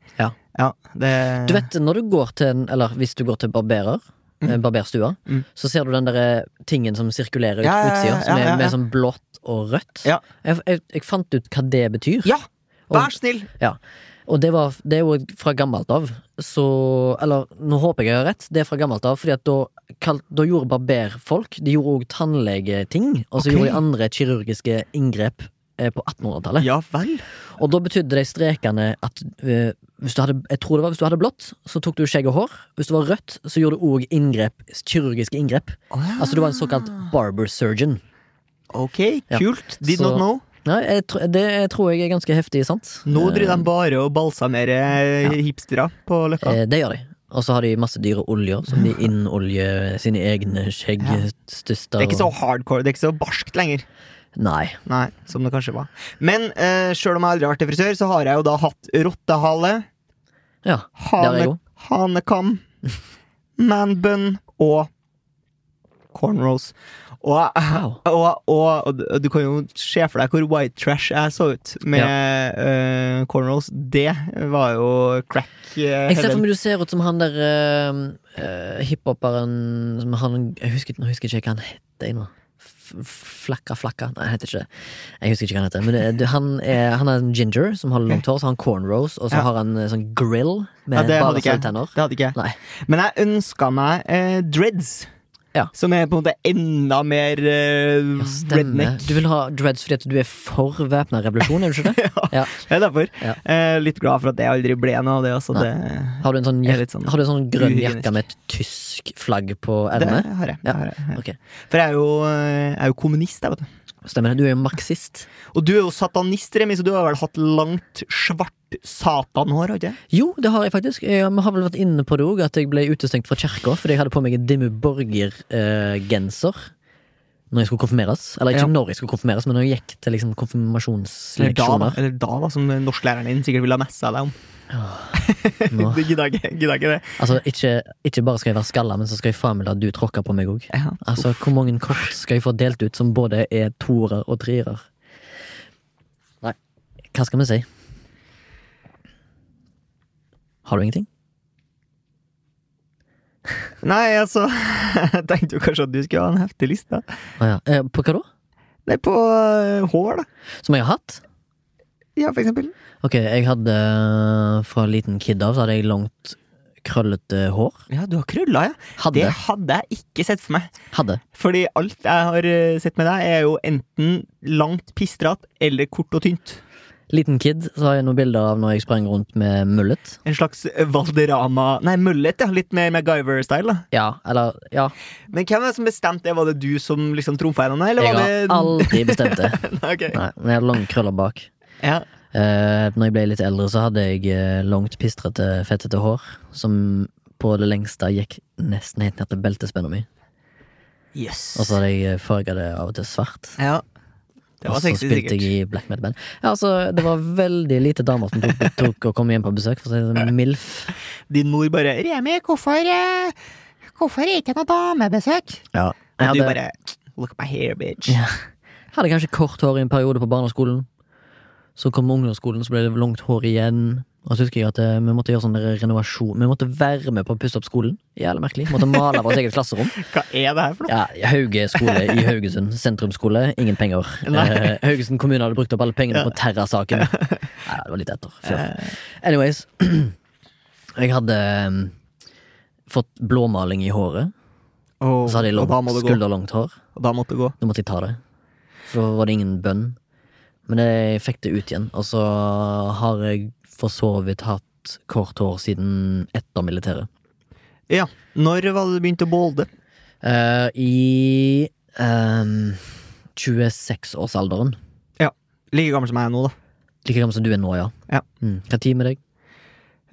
Speaker 1: Ja.
Speaker 2: det,
Speaker 1: Du vet, når du går til en, eller hvis du går til barberer eh, Barberstua,
Speaker 2: Mm.
Speaker 1: så ser du den der tingen som sirkulerer ut
Speaker 2: Ja, ja, ja,
Speaker 1: utsida, som
Speaker 2: ja,
Speaker 1: er
Speaker 2: ja, ja.
Speaker 1: med sånn blått og rødt.
Speaker 2: Ja.
Speaker 1: Jeg, jeg, jeg fant ut hva det betyr.
Speaker 2: Ja!
Speaker 1: Og-
Speaker 2: Vær snill!
Speaker 1: Ja. Og det, var, det er jo fra gammelt av, så Eller nå håper jeg jeg har rett, det er fra gammelt av, fordi at da, kal- da gjorde barberfolk De gjorde òg tannlegeting, og så
Speaker 2: Ok.
Speaker 1: gjorde de andre kirurgiske inngrep eh, på 1800-tallet.
Speaker 2: Ja vel.
Speaker 1: Og da betydde de strekene at eh, hvis, du hadde, jeg tror det var, hvis du hadde blått, så tok du skjegg og hår. Hvis det var rødt, så gjorde du òg inngrep, kirurgiske inngrep. Altså du var en såkalt barber surgeon.
Speaker 2: Ok,
Speaker 1: Ja.
Speaker 2: kult. Did
Speaker 1: Så-
Speaker 2: not know.
Speaker 1: Nei, jeg, tr- det tror jeg er ganske heftig, sant?
Speaker 2: Nå
Speaker 1: Eh,
Speaker 2: driver de bare og balsamerer eh, hipstere på Løkka.
Speaker 1: Eh, det gjør de. Og så har de masse dyre oljer som de innoljer sine egne skjeggstuster.
Speaker 2: Det er ikke så
Speaker 1: og-
Speaker 2: hardcore, det er ikke så barskt lenger.
Speaker 1: Nei.
Speaker 2: Nei, som det kanskje var. Men eh, sjøl om jeg aldri har vært til frisør, så har jeg jo da hatt rottehale.
Speaker 1: Ja. Der er jeg
Speaker 2: Hane,
Speaker 1: god.
Speaker 2: hanekam, manbun og cornrows. Og,
Speaker 1: Wow.
Speaker 2: og, og, og du kan jo se for deg hvor white trash jeg så ut med eh, cornrows. Det var jo crack eh,
Speaker 1: Jeg ser for
Speaker 2: heaven.
Speaker 1: meg du ser ut som han der eh, eh, hiphoperen som han Jeg husker, nå husker jeg ikke hva han heter jeg nå. F- Flakka Flakka. Nei, han heter ikke det. Jeg husker ikke hva han heter. Men eh, det, det, han, er, han er en ginger som har langt hår, så har han cornrows, og så
Speaker 2: Ja.
Speaker 1: har han eh, sånn grill
Speaker 2: Ja,
Speaker 1: med
Speaker 2: det
Speaker 1: bare
Speaker 2: hadde ikke jeg.
Speaker 1: fortenner.
Speaker 2: Det hadde ikke jeg.
Speaker 1: Nei.
Speaker 2: Men jeg ønska meg eh, dreads.
Speaker 1: Ja.
Speaker 2: Som er på en måte enda mer eh,
Speaker 1: Ja, stemmer.
Speaker 2: redneck.
Speaker 1: Du vil ha dreads fordi at du er for væpna revolusjon, er du ikke det? Ja.
Speaker 2: Det er derfor.
Speaker 1: Ja.
Speaker 2: Eh, litt glad for at det aldri ble noe av det. Altså,
Speaker 1: Nei.
Speaker 2: det,
Speaker 1: Har du en sånn,
Speaker 2: Jeg er
Speaker 1: jak
Speaker 2: litt sånn
Speaker 1: har du en sånn grønn
Speaker 2: uhygienisk.
Speaker 1: jakke med et tysk flagg på
Speaker 2: det
Speaker 1: ermet?
Speaker 2: har jeg.
Speaker 1: Ja.
Speaker 2: Det har jeg.
Speaker 1: Ok.
Speaker 2: For jeg er jo, eh, jeg er jo kommunist, jeg, vet du.
Speaker 1: Stemmer det. Du er jo marxist.
Speaker 2: Og du er jo satanist, Remi, så du har vel hatt langt, svart satanhår, har du ikke?
Speaker 1: Jo, det har jeg faktisk. Jeg har vel vært inne på det òg, at jeg ble utestengt fra kirka fordi jeg hadde på meg en Dimmu Borger-genser. når jeg skulle konfirmeres. Eller ikke
Speaker 2: Ja.
Speaker 1: når jeg skulle konfirmeres, men når jeg gikk til liksom,
Speaker 2: Eller da, da,
Speaker 1: konfirmasjonsleksjoner.
Speaker 2: eller da, da, som norsklæreren din sikkert ville ha messa deg om.
Speaker 1: Nå.
Speaker 2: Du gidda ikke, gidda ikke det.
Speaker 1: Altså, ikke, ikke bare skal jeg være skalla, men så skal jeg faen meg la du tråkke på meg òg.
Speaker 2: Ja.
Speaker 1: Altså, hvor mange kort skal jeg få delt ut som både er toere og treere? Nei, hva skal vi si? Har du ingenting?
Speaker 2: Nei, altså Jeg tenkte jo kanskje at du skulle ha en heftig liste.
Speaker 1: Å ja. eh, på hva da?
Speaker 2: Nei, på øh, hår, da.
Speaker 1: Som jeg har hatt?
Speaker 2: Ja, for eksempel.
Speaker 1: Ok, jeg hadde eh, fra liten kid av, så hadde jeg langt, krøllete hår.
Speaker 2: Ja, du har krøller, ja. Det
Speaker 1: Hadde.
Speaker 2: hadde jeg ikke sett for meg.
Speaker 1: Hadde.
Speaker 2: Fordi alt jeg har øh, sett med deg, er jo enten langt pistrete eller kort og tynt.
Speaker 1: Liten kid, så har jeg noen bilder av når jeg sprang rundt med mullet.
Speaker 2: En slags Valderama Nei, møllet, ja. Litt mer MacGyver-style, da.
Speaker 1: Ja, eller ja.
Speaker 2: Men hvem er det som bestemte det? Var det du som liksom trumfa gjennom det, eller
Speaker 1: Jeg
Speaker 2: var
Speaker 1: har
Speaker 2: det
Speaker 1: aldri bestemt det.
Speaker 2: Nei, ok.
Speaker 1: Nei, men jeg hadde lange krøller bak.
Speaker 2: Ja.
Speaker 1: Eh, når jeg ble litt eldre, så hadde jeg eh, langt, pistrete, fettete hår som på det lengste gikk nesten helt ned til beltespenna mi.
Speaker 2: Yes.
Speaker 1: Og så hadde jeg farga det av og til svart.
Speaker 2: ja. Det
Speaker 1: Og
Speaker 2: var
Speaker 1: så
Speaker 2: sexy,
Speaker 1: spilte
Speaker 2: sikkert.
Speaker 1: jeg i black metal-band. Ja, altså, det var veldig lite damer som tok, tok og kom hjem på besøk, for å si det sånn. Milf.
Speaker 2: Din mor bare 'Remi, hvorfor øh, Hvorfor er det ikke noe damebesøk?'
Speaker 1: Ja.
Speaker 2: Og
Speaker 1: Jeg
Speaker 2: du
Speaker 1: hadde,
Speaker 2: bare Look at my hair, bitch.
Speaker 1: Ja. hadde kanskje kort hår i en periode på barneskolen. Så kom ungdomsskolen, så ble det langt hår igjen. Og så husker jeg at eh, vi måtte gjøre sånn der renovasjon. Vi måtte være med på å pusse opp skolen. Jævlig merkelig. Måtte male vårt eget klasserom.
Speaker 2: Hva er det her for noe?
Speaker 1: Ja, Hauge skole i Haugesund. Sentrumsskole. Ingen penger.
Speaker 2: Nei.
Speaker 1: Eh, Haugesund kommune hadde brukt opp alle pengene på Terra-saken. Nei, det var litt etter. Før.
Speaker 2: Eh.
Speaker 1: Anyways. Jeg hadde mm, fått blåmaling i håret.
Speaker 2: Og,
Speaker 1: Så hadde jeg
Speaker 2: og da må
Speaker 1: langt,
Speaker 2: du gå.
Speaker 1: skulderlangt hår.
Speaker 2: Og da måtte du gå.
Speaker 1: Da måtte jeg ta det. For da var det ingen bønn. Men jeg fikk det ut igjen. Og så har jeg for så vidt hatt kort hår siden etter militæret.
Speaker 2: Ja. Når var det du begynte å bolde?
Speaker 1: Eh, I ehm, 26-årsalderen.
Speaker 2: Like gammel som jeg er nå, da.
Speaker 1: Like gammel som du er nå, ja.
Speaker 2: Ja.
Speaker 1: Mm. Hva tid med deg?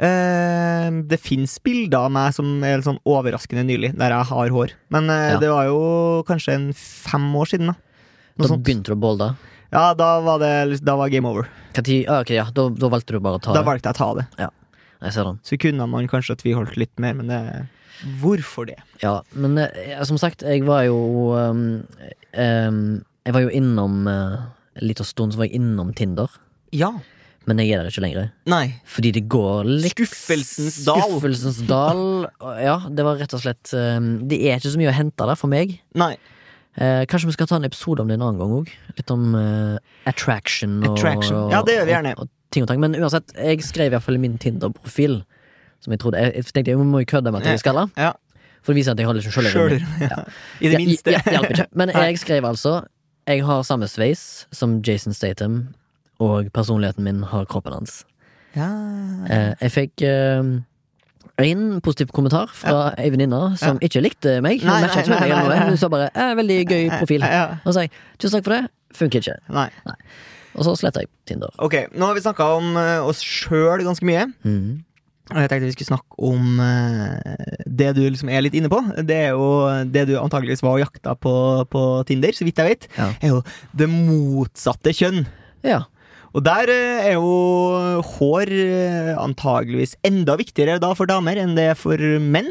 Speaker 2: Eh, det fins bilder av meg som er litt sånn overraskende nylig, der jeg har hår. Men eh,
Speaker 1: Ja.
Speaker 2: det var jo kanskje en fem år siden, da.
Speaker 1: Da
Speaker 2: Noe sånt.
Speaker 1: begynte du å bolde.
Speaker 2: Ja, da var det liksom- da var game over.
Speaker 1: Hva tid? Ah, ok, ja. Da, da valgte du bare å ta
Speaker 2: Da
Speaker 1: det.
Speaker 2: valgte jeg å ta det.
Speaker 1: Jeg ser den.
Speaker 2: Så kunne man kanskje tviholdt litt mer, men det Hvorfor det?
Speaker 1: Ja, men eh, som sagt, jeg var jo ehm, ehm, Jeg var jo innom eh, En liten stund så var jeg innom Tinder,
Speaker 2: Ja.
Speaker 1: men jeg er der ikke lenger.
Speaker 2: Nei.
Speaker 1: Fordi det går litt
Speaker 2: Skuffelsens dal.
Speaker 1: Skuffelsens dal. Og Ja, det var rett og slett ehm, Det er ikke så mye å hente der for meg.
Speaker 2: Nei.
Speaker 1: Eh, kanskje vi skal ta en episode om det en annen gang òg. Litt om eh, attraction. Og,
Speaker 2: Attraction. Ja, det gjør vi gjerne.
Speaker 1: Og, og, ting og tang. Men uansett, jeg skrev iallfall i min Tinder-profil. Som jeg trodde Jeg, jeg tenkte jeg må jo kødde med at jeg er skalla.
Speaker 2: Ja.
Speaker 1: For å vise at jeg har liksom
Speaker 2: Sjøl.
Speaker 1: sjølironi.
Speaker 2: I det minste.
Speaker 1: Ja, ja, det hjelper ikke. Men
Speaker 2: Nei.
Speaker 1: jeg skrev altså Jeg har samme sveis som Jason Statham, og personligheten min har kroppen hans.
Speaker 2: Ja.
Speaker 1: Eh, jeg fikk én positiv kommentar fra ei venninne som ikke likte meg.
Speaker 2: Nei,
Speaker 1: Hun matchet ikke
Speaker 2: nei,
Speaker 1: med meg
Speaker 2: nei,
Speaker 1: eller noe.
Speaker 2: nei.
Speaker 1: Hun sa bare eh, 'veldig gøy profil'.
Speaker 2: Ja,
Speaker 1: Og så sa jeg tusen takk for det. Funker ikke.
Speaker 2: ja. Nei.
Speaker 1: Og så sletter jeg Tinder.
Speaker 2: Ok, nå har vi snakka om eh, oss sjøl ganske mye. Mm.
Speaker 1: Mhm.
Speaker 2: Og jeg tenkte vi skulle snakke om eh, det du liksom er litt inne på. Det er jo det du antageligvis var og jakta på på Tinder, så vidt jeg vet.
Speaker 1: Ja.
Speaker 2: Er jo det motsatte kjønn.
Speaker 1: Ja.
Speaker 2: Og der eh, er jo hår eh, antageligvis enda viktigere da for damer enn det er for menn.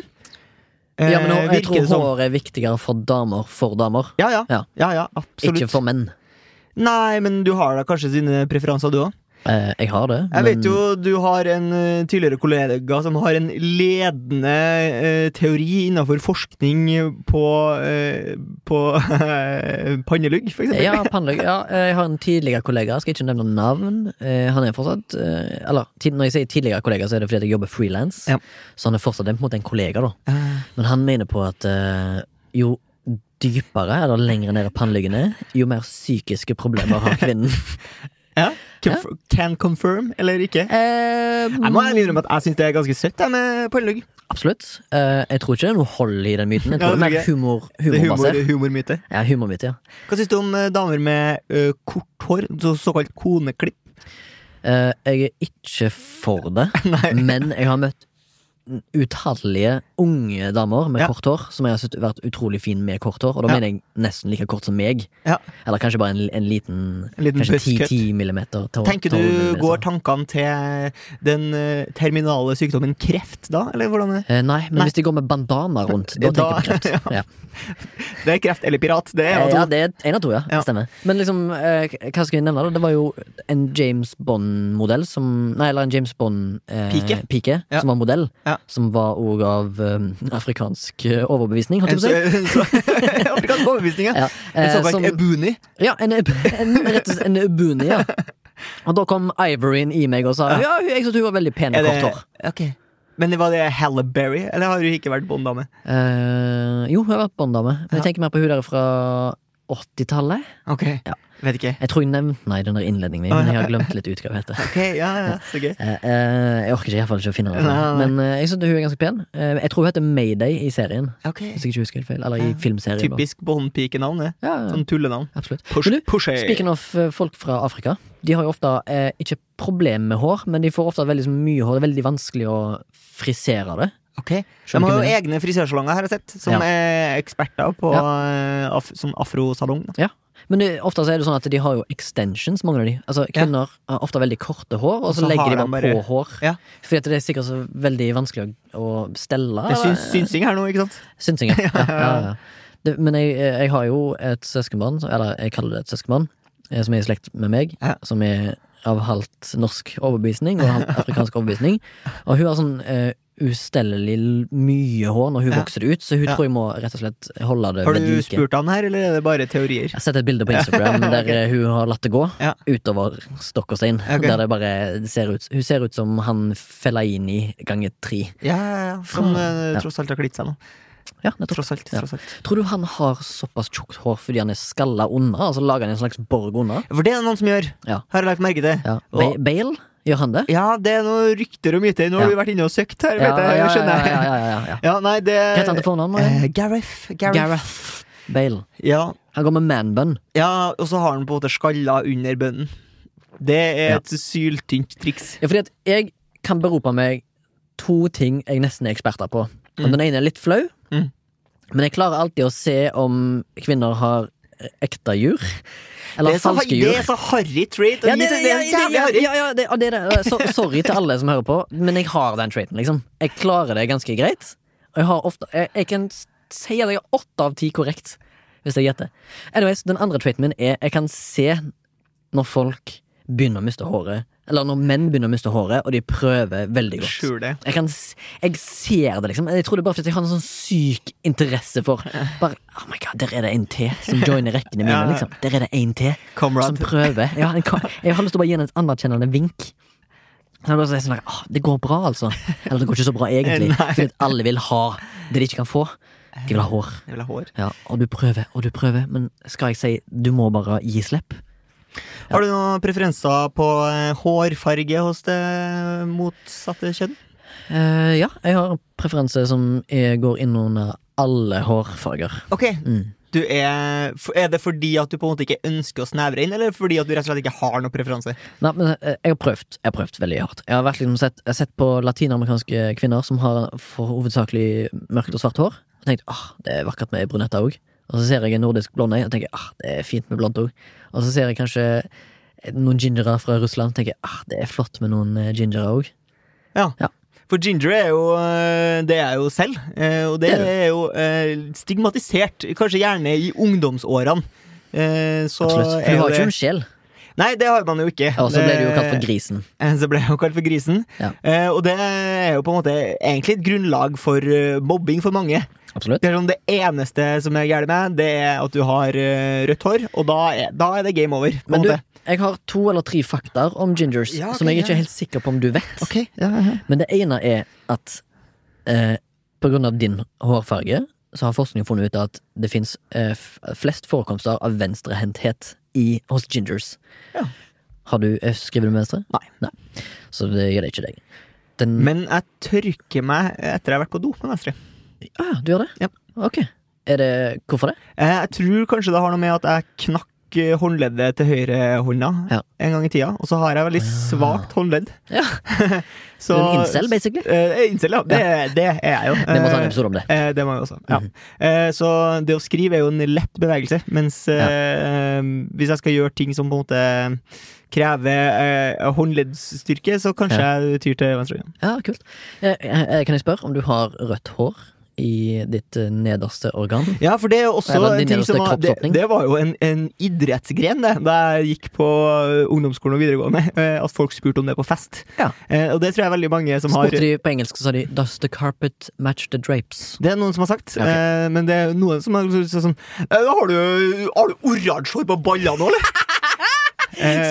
Speaker 2: Eh,
Speaker 1: ja, men nå, jeg
Speaker 2: virker
Speaker 1: tror
Speaker 2: det som.
Speaker 1: hår er viktigere for damer for damer.
Speaker 2: Ja, ja.
Speaker 1: Ja.
Speaker 2: ja, ja absolutt.
Speaker 1: Ikke for menn.
Speaker 2: Nei, men du har da kanskje sine preferanser, du òg?
Speaker 1: Eh, jeg har det.
Speaker 2: Jeg
Speaker 1: men-
Speaker 2: vet jo du har en eh, tidligere kollega som har en ledende eh, teori innenfor forskning på, eh, på pannelugg, for eksempel.
Speaker 1: Ja, pannelugg. Ja, jeg har en tidligere kollega, jeg skal ikke nevne navn. Eh, Han er fortsatt eh, Eller tid- når jeg sier tidligere kollega, så er det fordi at jeg jobber frilans.
Speaker 2: Ja.
Speaker 1: Så han er fortsatt en, på en måte en kollega, da.
Speaker 2: Eh,
Speaker 1: Men han mener på at eh, jo dypere eller lenger ned i pannelyggen er, jo mer psykiske problemer har kvinnen.
Speaker 2: Ja. Conf Can confirm eller ikke. Jeg må ærlig innrømme at jeg syns det er ganske søtt jeg, med pannelugg.
Speaker 1: Absolutt. Eh, jeg tror ikke det er noe hold i den myten. Jeg
Speaker 2: Ja,
Speaker 1: tror det er
Speaker 2: det
Speaker 1: mer humor,
Speaker 2: Det er humor,
Speaker 1: humorbasert.
Speaker 2: humormyte.
Speaker 1: Ja, humormyte, ja.
Speaker 2: Hva syns du om eh, damer med ø, kort hår, så, såkalt koneklipp?
Speaker 1: Eh, jeg er ikke for det,
Speaker 2: Nei.
Speaker 1: men jeg har møtt utallige unge damer med
Speaker 2: Ja.
Speaker 1: kort hår som jeg har syntes vært utrolig fin med kort hår. Og da
Speaker 2: Ja.
Speaker 1: mener jeg nesten like kort som meg.
Speaker 2: Ja.
Speaker 1: Eller kanskje bare en, en liten
Speaker 2: En liten
Speaker 1: Kanskje
Speaker 2: buzzcut.
Speaker 1: 10-10 millimeter. tå-
Speaker 2: Tenker
Speaker 1: tolv
Speaker 2: du
Speaker 1: millimeter.
Speaker 2: Går tankene til den eh, terminale sykdommen kreft da, eller hvordan er det?
Speaker 1: Eh, nei, men
Speaker 2: Nei.
Speaker 1: hvis de går med bandana rundt, da
Speaker 2: Da-
Speaker 1: tenker jeg på kreft. Ja.
Speaker 2: Det er kreft eller pirat, det er
Speaker 1: Eh,
Speaker 2: jo
Speaker 1: Ja,
Speaker 2: to.
Speaker 1: det er en av to, ja.
Speaker 2: Ja.
Speaker 1: Stemmer. Men liksom, eh, hva skal vi nevne, da? Det var jo en James Bond-modell som Nei, eller en James Bond-pike
Speaker 2: Pike. Ja.
Speaker 1: som var modell.
Speaker 2: Ja.
Speaker 1: Som var òg av eh, afrikansk eh, overbevisning, holdt
Speaker 2: En
Speaker 1: jeg på å si.
Speaker 2: så- så- Afrikansk overbevisning, ja.
Speaker 1: Ja,
Speaker 2: En
Speaker 1: eh,
Speaker 2: såkalt
Speaker 1: som,
Speaker 2: ebuni.
Speaker 1: ja, en, en, rett og slett en ubuni, ja. Og da kom Ivoryen i meg og sa ja, hun- jeg syntes hun var veldig pen
Speaker 2: Er
Speaker 1: med
Speaker 2: det-
Speaker 1: kort hår.
Speaker 2: Ok. Men var det Halle Berry, eller har hun ikke vært bonddame?
Speaker 1: Eh, jo, hun har vært Bond-dame. Men jeg tenker mer på hun der fra 80-tallet.
Speaker 2: Ok, vet ikke.
Speaker 1: Jeg tror jeg nevnte henne i den der innledningen min, men jeg har glemt litt ut hva hun heter.
Speaker 2: Ok, ja, ja, så gøy.
Speaker 1: Eh, eh, jeg orker ikke, i hvert fall ikke å finne henne.
Speaker 2: Nei, nei, nei.
Speaker 1: Men eh, jeg synes hun er ganske pen. Eh, jeg tror hun heter Mayday i serien.
Speaker 2: Ok,
Speaker 1: Hvis jeg ikke husker helt feil. Eller i
Speaker 2: Ja,
Speaker 1: filmserien. da.
Speaker 2: Typisk bondpikenavn, det.
Speaker 1: Ja, ja,
Speaker 2: Sånn tullenavn.
Speaker 1: absolutt.
Speaker 2: Push,
Speaker 1: Men du,
Speaker 2: pushy.
Speaker 1: Speaking of eh, folk fra Afrika. De har jo ofte eh, ikke problem med hår, men de får ofte veldig så mye hår. Det er veldig vanskelig å frisere det.
Speaker 2: Ok, De
Speaker 1: Skjønner
Speaker 2: har
Speaker 1: ikke
Speaker 2: jo
Speaker 1: hva jeg
Speaker 2: egne frisørsalonger, har jeg sett, som
Speaker 1: Ja.
Speaker 2: er eksperter på eh, af sånn afrosalong. da.
Speaker 1: Men det, ofte så er det sånn at de har jo extensions, mange av de. Altså Kvinner har ofte veldig korte hår, og så,
Speaker 2: så har
Speaker 1: legger de bare,
Speaker 2: de bare-
Speaker 1: på hår.
Speaker 2: Ja.
Speaker 1: Fordi at det er sikkert så veldig vanskelig å, å stelle.
Speaker 2: Det er
Speaker 1: eller-
Speaker 2: syns, synsing her nå, ikke sant?
Speaker 1: Synsing, ja. ja, ja, ja. Det, men jeg, jeg har jo et søskenbarn, eller jeg kaller det et søskenbarn, eh, som er i slekt med meg,
Speaker 2: Ja.
Speaker 1: som er av halvt norsk overbevisning og halvt afrikansk overbevisning. Og hun har sånn eh, ustellelig l- mye hår når hun
Speaker 2: Ja.
Speaker 1: vokser det ut, så hun
Speaker 2: Ja.
Speaker 1: tror jeg må rett og slett holde det
Speaker 2: Har
Speaker 1: ved
Speaker 2: du
Speaker 1: like.
Speaker 2: spurt han her, eller er det bare teorier?
Speaker 1: Jeg har sett et bilde på Instagram der eh, hun har latt det gå
Speaker 2: Ja.
Speaker 1: utover stokk og stein.
Speaker 2: Ok.
Speaker 1: Der det bare ser ut Hun ser ut som han Fellaini ganger tre.
Speaker 2: Ja, ja, ja. Som eh,
Speaker 1: Ja.
Speaker 2: tross alt har klitt seg nå.
Speaker 1: Ja, nettopp.
Speaker 2: Tross alt,
Speaker 1: Ja.
Speaker 2: tross alt.
Speaker 1: Tror du han har såpass tjukt hår fordi han er skalla unna? Altså lager han en slags borg unna?
Speaker 2: For det er det noen som gjør,
Speaker 1: Ja.
Speaker 2: har jeg lagt merke til.
Speaker 1: Ja. Ba
Speaker 2: Og-
Speaker 1: Bale, gjør han det?
Speaker 2: Ja, det er noen rykter og myter. Nå har
Speaker 1: Ja.
Speaker 2: du vært inne og søkt her, vet
Speaker 1: ja,
Speaker 2: jeg.
Speaker 1: ja,
Speaker 2: skjønner jeg.
Speaker 1: ja, ja, ja, ja.
Speaker 2: Ja, nei, det
Speaker 1: Hva heter han til fornavn? Marian?
Speaker 2: Eh, Gareth. Gareth.
Speaker 1: Gareth Bale.
Speaker 2: Ja.
Speaker 1: Han går med manbun.
Speaker 2: ja, og så har han på en måte skalla under bønnen. Det er
Speaker 1: Ja.
Speaker 2: et syltynt triks.
Speaker 1: Ja, fordi at jeg kan berope meg to ting jeg nesten er eksperter på. Og Den ene er litt flau,
Speaker 2: Mm.
Speaker 1: men jeg klarer alltid å se om kvinner har ekte jur. Eller
Speaker 2: det er så,
Speaker 1: falske
Speaker 2: har-
Speaker 1: jur.
Speaker 2: Det er så harry trait. og
Speaker 1: Ja, det,
Speaker 2: det-
Speaker 1: ja,
Speaker 2: det er
Speaker 1: ja,
Speaker 2: jævlig
Speaker 1: ja,
Speaker 2: harry.
Speaker 1: ja, ja, det, og det, er det. Så, sorry til alle som hører på, men jeg har den traiten, liksom. Jeg klarer det ganske greit. Og jeg har ofte Jeg, jeg kan si at jeg har åtte av ti korrekt, hvis jeg gjetter. Anyways, den andre traiten min er jeg kan se når folk begynner å miste håret. Eller når menn begynner å miste håret, og de prøver veldig godt.
Speaker 2: Skjul det.
Speaker 1: Jeg, kan, s- jeg ser det, liksom. Jeg tror det er bare fordi jeg har en sånn syk interesse for Bare, oh my god, Der er det en til som joiner rekkene mine.
Speaker 2: Ja, ja.
Speaker 1: liksom Der er det en til som
Speaker 2: Comrade.
Speaker 1: prøver. Ja, en ka- jeg har lyst til å bare gi henne et anerkjennende vink. Så jeg bare sier sånn der, «Åh, Det går bra, altså. Eller det går ikke så bra, egentlig.
Speaker 2: Nei.
Speaker 1: Fordi at alle vil ha det de ikke kan få. De vil ha hår.
Speaker 2: Jeg vil ha hår.
Speaker 1: Ja, og du prøver og du prøver, men skal jeg si du må bare gi slipp?
Speaker 2: Har du noen preferanser på eh, hårfarge hos det motsatte kjønn?
Speaker 1: Eh, ja, jeg har en preferanse som eh, går inn under alle hårfarger.
Speaker 2: Ok,
Speaker 1: Mm.
Speaker 2: du er, f- er det fordi at du på en måte ikke ønsker å snevre inn, eller fordi at du rett og slett ikke har noen preferanse?
Speaker 1: Nei, men eh, jeg har prøvd Jeg har prøvd veldig hardt. Jeg har vært liksom sett, jeg har sett på latinamerikanske kvinner som har for hovedsakelig mørkt og svart hår. Og tenkt ah, det er vakkert med brunetter òg. Og så ser jeg en nordisk blond øy og tenker ah, det er fint med blondt òg. Og så ser jeg kanskje noen gingere fra Russland og tenker ah, det er flott med noen eh, gingere òg.
Speaker 2: Ja.
Speaker 1: Ja.
Speaker 2: For ginger er jo øh, Det er jeg jo selv, eh, og det
Speaker 1: Det er du.
Speaker 2: er jo eh, stigmatisert, kanskje gjerne i ungdomsårene. Eh, Så
Speaker 1: Absolutt. For
Speaker 2: er
Speaker 1: du
Speaker 2: jo
Speaker 1: har jo
Speaker 2: det-
Speaker 1: ikke en sjel.
Speaker 2: Nei, det har man jo ikke.
Speaker 1: Og så ble du jo kalt for
Speaker 2: Det-
Speaker 1: grisen.
Speaker 2: Eh, Så ble jeg jo kalt for grisen.
Speaker 1: Ja.
Speaker 2: Eh, Og det er jo på en måte egentlig et grunnlag for eh, mobbing for mange.
Speaker 1: Absolutt.
Speaker 2: Det er sånn det eneste som er gærent med, det er at du har eh, rødt hår, og da er, da er det game over. På
Speaker 1: Men
Speaker 2: en
Speaker 1: du,
Speaker 2: måte.
Speaker 1: jeg har to eller tre fakta om gingers
Speaker 2: Ja, ok,
Speaker 1: som jeg
Speaker 2: ja.
Speaker 1: ikke er helt sikker på om du vet.
Speaker 2: Ok, ja, ja.
Speaker 1: Men det ene er at eh, på grunn av din hårfarge så har forskning funnet ut at det fins eh, f- flest forekomster av venstrehendthet i, hos gingers.
Speaker 2: Ja.
Speaker 1: Har du eh, skriver du med venstre?
Speaker 2: Nei.
Speaker 1: Så det gjør det ikke deg. Den,
Speaker 2: Men jeg tørker meg etter jeg har vært på do med venstre.
Speaker 1: ah, du gjør det?
Speaker 2: Ja.
Speaker 1: Ok. Er det, hvorfor det?
Speaker 2: Eh, Jeg tror kanskje det har noe med at jeg knakk eh, håndleddet til høyrehånda
Speaker 1: Ja.
Speaker 2: en gang i tida, og så har jeg veldig svakt håndledd.
Speaker 1: Ja.
Speaker 2: Så-
Speaker 1: Du er en incel, basically?
Speaker 2: Eh, incel, ja. Det, det er jeg jo.
Speaker 1: Vi må ta
Speaker 2: Eh,
Speaker 1: en episode Mhm. om det.
Speaker 2: Eh, det må jeg også. Ja. Eh, så det å skrive er jo en lett bevegelse, mens eh, eh, hvis jeg skal gjøre ting som på en måte krever eh, håndleddsstyrke, så kanskje jeg tyr til venstre. hånd.
Speaker 1: Ja, kult. Eh, eh, Kan jeg spørre om du har rødt hår i ditt eh, nederste organ?
Speaker 2: Ja, for det er jo også
Speaker 1: Det er veldig
Speaker 2: en ting som
Speaker 1: nederste
Speaker 2: var, det,
Speaker 1: kroppsåpning.
Speaker 2: det var jo en, en idrettsgren det, da jeg gikk på eh, ungdomsskolen og videregående, eh, at folk spurte om det på fest.
Speaker 1: Ja.
Speaker 2: Eh, og det tror jeg veldig mange som har
Speaker 1: Spurte de på engelsk, så sa de 'Does the carpet match the drapes'?
Speaker 2: Det er noen som har sagt,
Speaker 1: Ok.
Speaker 2: eh, men det er noen som har sagt sånn eh, Har du, har du oransje hår på ballene nå, eller? Eh,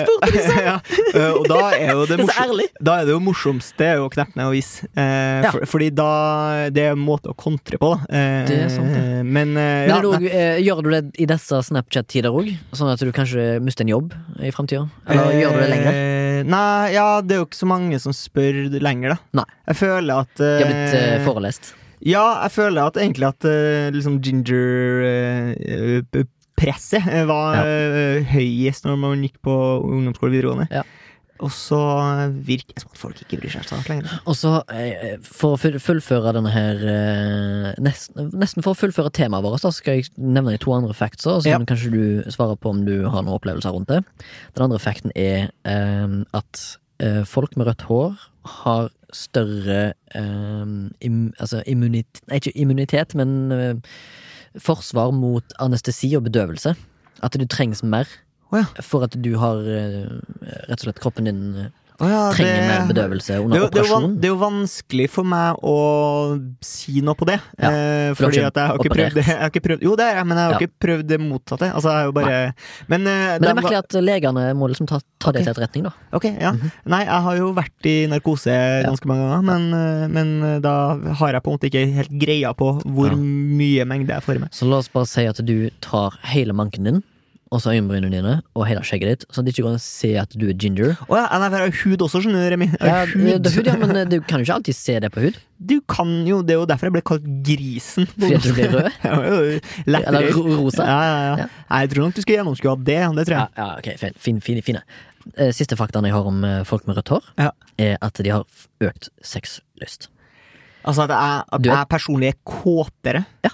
Speaker 1: Spurte de sånn.
Speaker 2: ja, eh, og da er jo det,
Speaker 1: Det er så
Speaker 2: morsom-
Speaker 1: ærlig.
Speaker 2: Da er det jo morsomste er jo å kneppe ned og vise. Eh,
Speaker 1: Ja.
Speaker 2: for, fordi da Det er en måte å kontre på, da. Eh,
Speaker 1: Det er sant, det.
Speaker 2: eh, Men, eh,
Speaker 1: Men
Speaker 2: ja,
Speaker 1: er det
Speaker 2: nei.
Speaker 1: også, eh, gjør du det i disse Snapchat-tider òg? Sånn at du kanskje mister en jobb i framtida? Eller gjør du det lenger?
Speaker 2: Eh, Nei, ja, det er jo ikke så mange som spør lenger, da.
Speaker 1: Nei.
Speaker 2: Jeg føler at
Speaker 1: De har blitt eh,
Speaker 2: eh,
Speaker 1: forelest.
Speaker 2: Ja, jeg føler at egentlig at eh, liksom ginger eh, Presset eh, var
Speaker 1: Ja.
Speaker 2: eh, høyest når man gikk på ungdomsskole og videregående.
Speaker 1: Ja.
Speaker 2: Og så virker det som at folk ikke bryr seg sånn lenger.
Speaker 1: Og så, eh, for å full- fullføre denne her eh, nesten, nesten for å fullføre temaet vårt, da skal jeg nevne de to andre factsa, og så
Speaker 2: Ja.
Speaker 1: kan kanskje du svare på om du har noen opplevelser rundt det. Den andre facten er eh, at eh, folk med rødt hår har større eh, im, altså immunitet Nei, ikke immunitet, men eh, forsvar mot anestesi og bedøvelse. At du trengs mer
Speaker 2: Å ja.
Speaker 1: for at du har eh, rett og slett kroppen din eh,
Speaker 2: Å ja,
Speaker 1: trenger mer bedøvelse
Speaker 2: Det er,
Speaker 1: under
Speaker 2: jo, det, er jo van,
Speaker 1: operasjon.
Speaker 2: det er jo vanskelig for meg å si noe på det.
Speaker 1: Ja,
Speaker 2: eh,
Speaker 1: for du
Speaker 2: fordi
Speaker 1: har ikke
Speaker 2: at jeg har ikke
Speaker 1: operert.
Speaker 2: prøvd det. Jeg har ikke prøvd, jo, det er jeg, men jeg har
Speaker 1: Ja.
Speaker 2: ikke prøvd det motsatte. Altså, jeg er jo bare Men,
Speaker 1: Men
Speaker 2: eh,
Speaker 1: det
Speaker 2: dem
Speaker 1: er
Speaker 2: var-
Speaker 1: merkelig at Mhm. legene må liksom ta, ta det til etterretning, da.
Speaker 2: Ok, ja. Nei, jeg har jo vært i narkose ganske mange ganger, men, eh, men eh, da har jeg på en måte ikke helt greia på hvor
Speaker 1: Ja.
Speaker 2: mye mengde jeg får i meg.
Speaker 1: Så la oss bare si at du tar hele manken din, og så øyenbrynene dine, og hele skjegget ditt, sånn at de ikke kan se at du er ginger.
Speaker 2: Å ja, nei, for jeg har jo hud også, skjønner du, Remi. Jeg
Speaker 1: Ja,
Speaker 2: har hud.
Speaker 1: det er hud, ja, men eh, du kan jo ikke alltid se det på hud.
Speaker 2: Du kan jo, det er jo derfor jeg ble kalt grisen.
Speaker 1: Fordi at du blir rød? Eller
Speaker 2: Eller
Speaker 1: ro- rosa?
Speaker 2: Ja, ja, ja.
Speaker 1: Ja.
Speaker 2: Nei, jeg tror nok du skulle gjennomskue det, det tror
Speaker 1: Ja,
Speaker 2: jeg.
Speaker 1: ja ok, fin, fin, fin, fine. Eh, Siste faktaen jeg har om eh, folk med rødt hår,
Speaker 2: Ja.
Speaker 1: er at de har f- økt sexlyst.
Speaker 2: Altså at jeg, at
Speaker 1: Du er-
Speaker 2: jeg personlig er kåtere.
Speaker 1: Ja.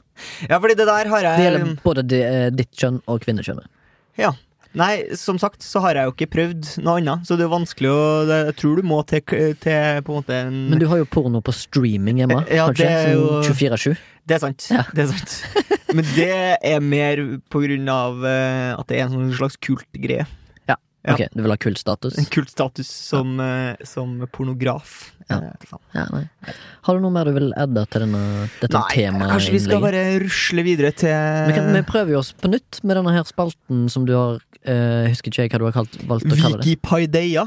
Speaker 2: ja, fordi det der har jeg
Speaker 1: Det gjelder både de, eh, ditt kjønn og kvinnekjønnet.
Speaker 2: Ja. Nei, som sagt så har jeg jo ikke prøvd noe annet, så det er jo vanskelig å det- Jeg tror du må til, til på en måte en
Speaker 1: Men du har jo porno på streaming hjemme,
Speaker 2: Ja,
Speaker 1: kanskje?
Speaker 2: det er jo-
Speaker 1: Som 24-7?
Speaker 2: Det er sant.
Speaker 1: Ja.
Speaker 2: Det er sant. Men det er mer på grunn av eh, at det er en sånn slags kultgreie.
Speaker 1: Ja.
Speaker 2: Ja.
Speaker 1: Ok, du vil ha kultstatus?
Speaker 2: En kultstatus som, eh, som pornograf.
Speaker 1: Ja.
Speaker 2: Eh, faen.
Speaker 1: Ja, nei. Har du noe mer du vil adde til denne, dette
Speaker 2: Nei,
Speaker 1: temaet?
Speaker 2: kanskje vi skal bare rusle videre til
Speaker 1: vi, kan, vi prøver jo oss på nytt med denne her spalten som du har eh, Husker ikke jeg hva du har kalt, valgt å kalle det.
Speaker 2: Vikipaideia.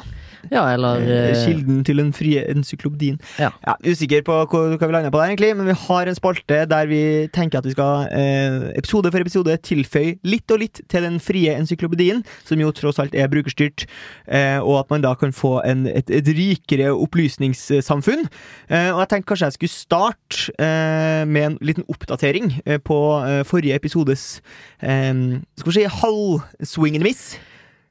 Speaker 1: Ja, eller
Speaker 2: Eh,
Speaker 1: eh,
Speaker 2: Kilden til den frie encyklopedien.
Speaker 1: Ja.
Speaker 2: usikker på hva, hva vi lander på der, egentlig, men vi har en spalte der vi tenker at vi skal eh, episode for episode tilføye litt og litt til den frie encyklopedien, som jo tross alt er brukerstyrt, eh, og at man da kan få en, et, et rikere opplysningssamfunn. Eh, og jeg tenkte kanskje jeg skulle starte eh, med en liten oppdatering eh, på eh, forrige episodes eh, skal vi si halvswing and miss.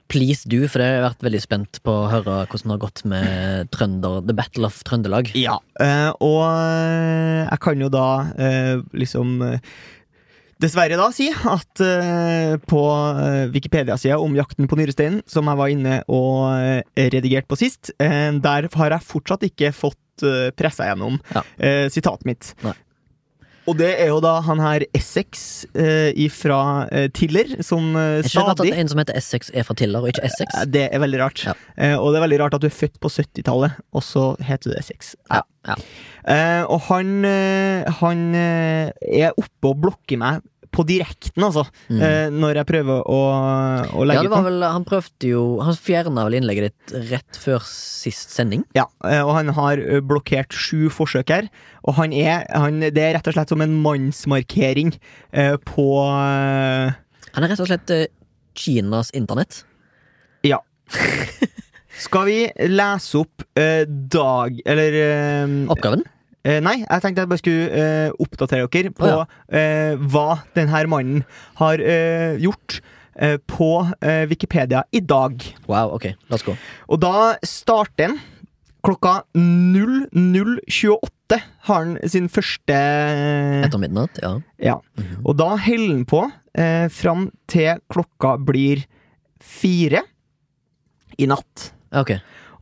Speaker 1: Please do, for det har jeg vært veldig spent på å høre hvordan det har gått med Trønder The Battle of Trøndelag.
Speaker 2: Ja, eh, og eh, jeg kan jo da eh, liksom eh, Dessverre da si at eh, på eh, Wikipedia-sida om jakten på nyresteinen, som jeg var inne og eh, redigerte på sist, eh, der har jeg fortsatt ikke fått eh, pressa gjennom
Speaker 1: Ja.
Speaker 2: eh, sitatet mitt.
Speaker 1: Nei.
Speaker 2: Og det er jo da han her Essex eh, ifra eh, Tiller, som eh,
Speaker 1: Jeg skjønner at
Speaker 2: stadig
Speaker 1: en som heter Essex er fra Tiller, og ikke Essex.
Speaker 2: ja, Det er veldig rart.
Speaker 1: Ja.
Speaker 2: Eh, og det er veldig rart at du er født på 70-tallet, og så heter du Essex.
Speaker 1: Ja, ja.
Speaker 2: Eh, og han, eh, han eh, er oppe og blokker meg på direkten, altså, eh, når jeg prøver å, å
Speaker 1: Mm. Ja,
Speaker 2: legge
Speaker 1: det
Speaker 2: ut
Speaker 1: var
Speaker 2: noe.
Speaker 1: vel, han prøvde jo Han fjerna vel innlegget ditt rett før sist sending.
Speaker 2: Ja, eh, og han har eh, blokkert sju forsøk her. Og han er han, Det er rett og slett som en mannsmarkering eh, på eh,
Speaker 1: Han er rett og slett eh, Kinas internett.
Speaker 2: Ja. Skal vi lese opp eh, dag... Eller eh,
Speaker 1: Oppgaven.
Speaker 2: Eh, nei, jeg tenkte jeg bare skulle eh, oppdatere dere på
Speaker 1: Å,
Speaker 2: eh, hva denne mannen har eh, gjort eh, på eh, Wikipedia i dag.
Speaker 1: Wow, ok, la oss gå.
Speaker 2: Og da starter den klokka 00.28 har han sin første eh,
Speaker 1: Etter midnatt, ja.
Speaker 2: Ja. Og da holder han på eh, fram til klokka blir fire i natt.
Speaker 1: Ja, Ok.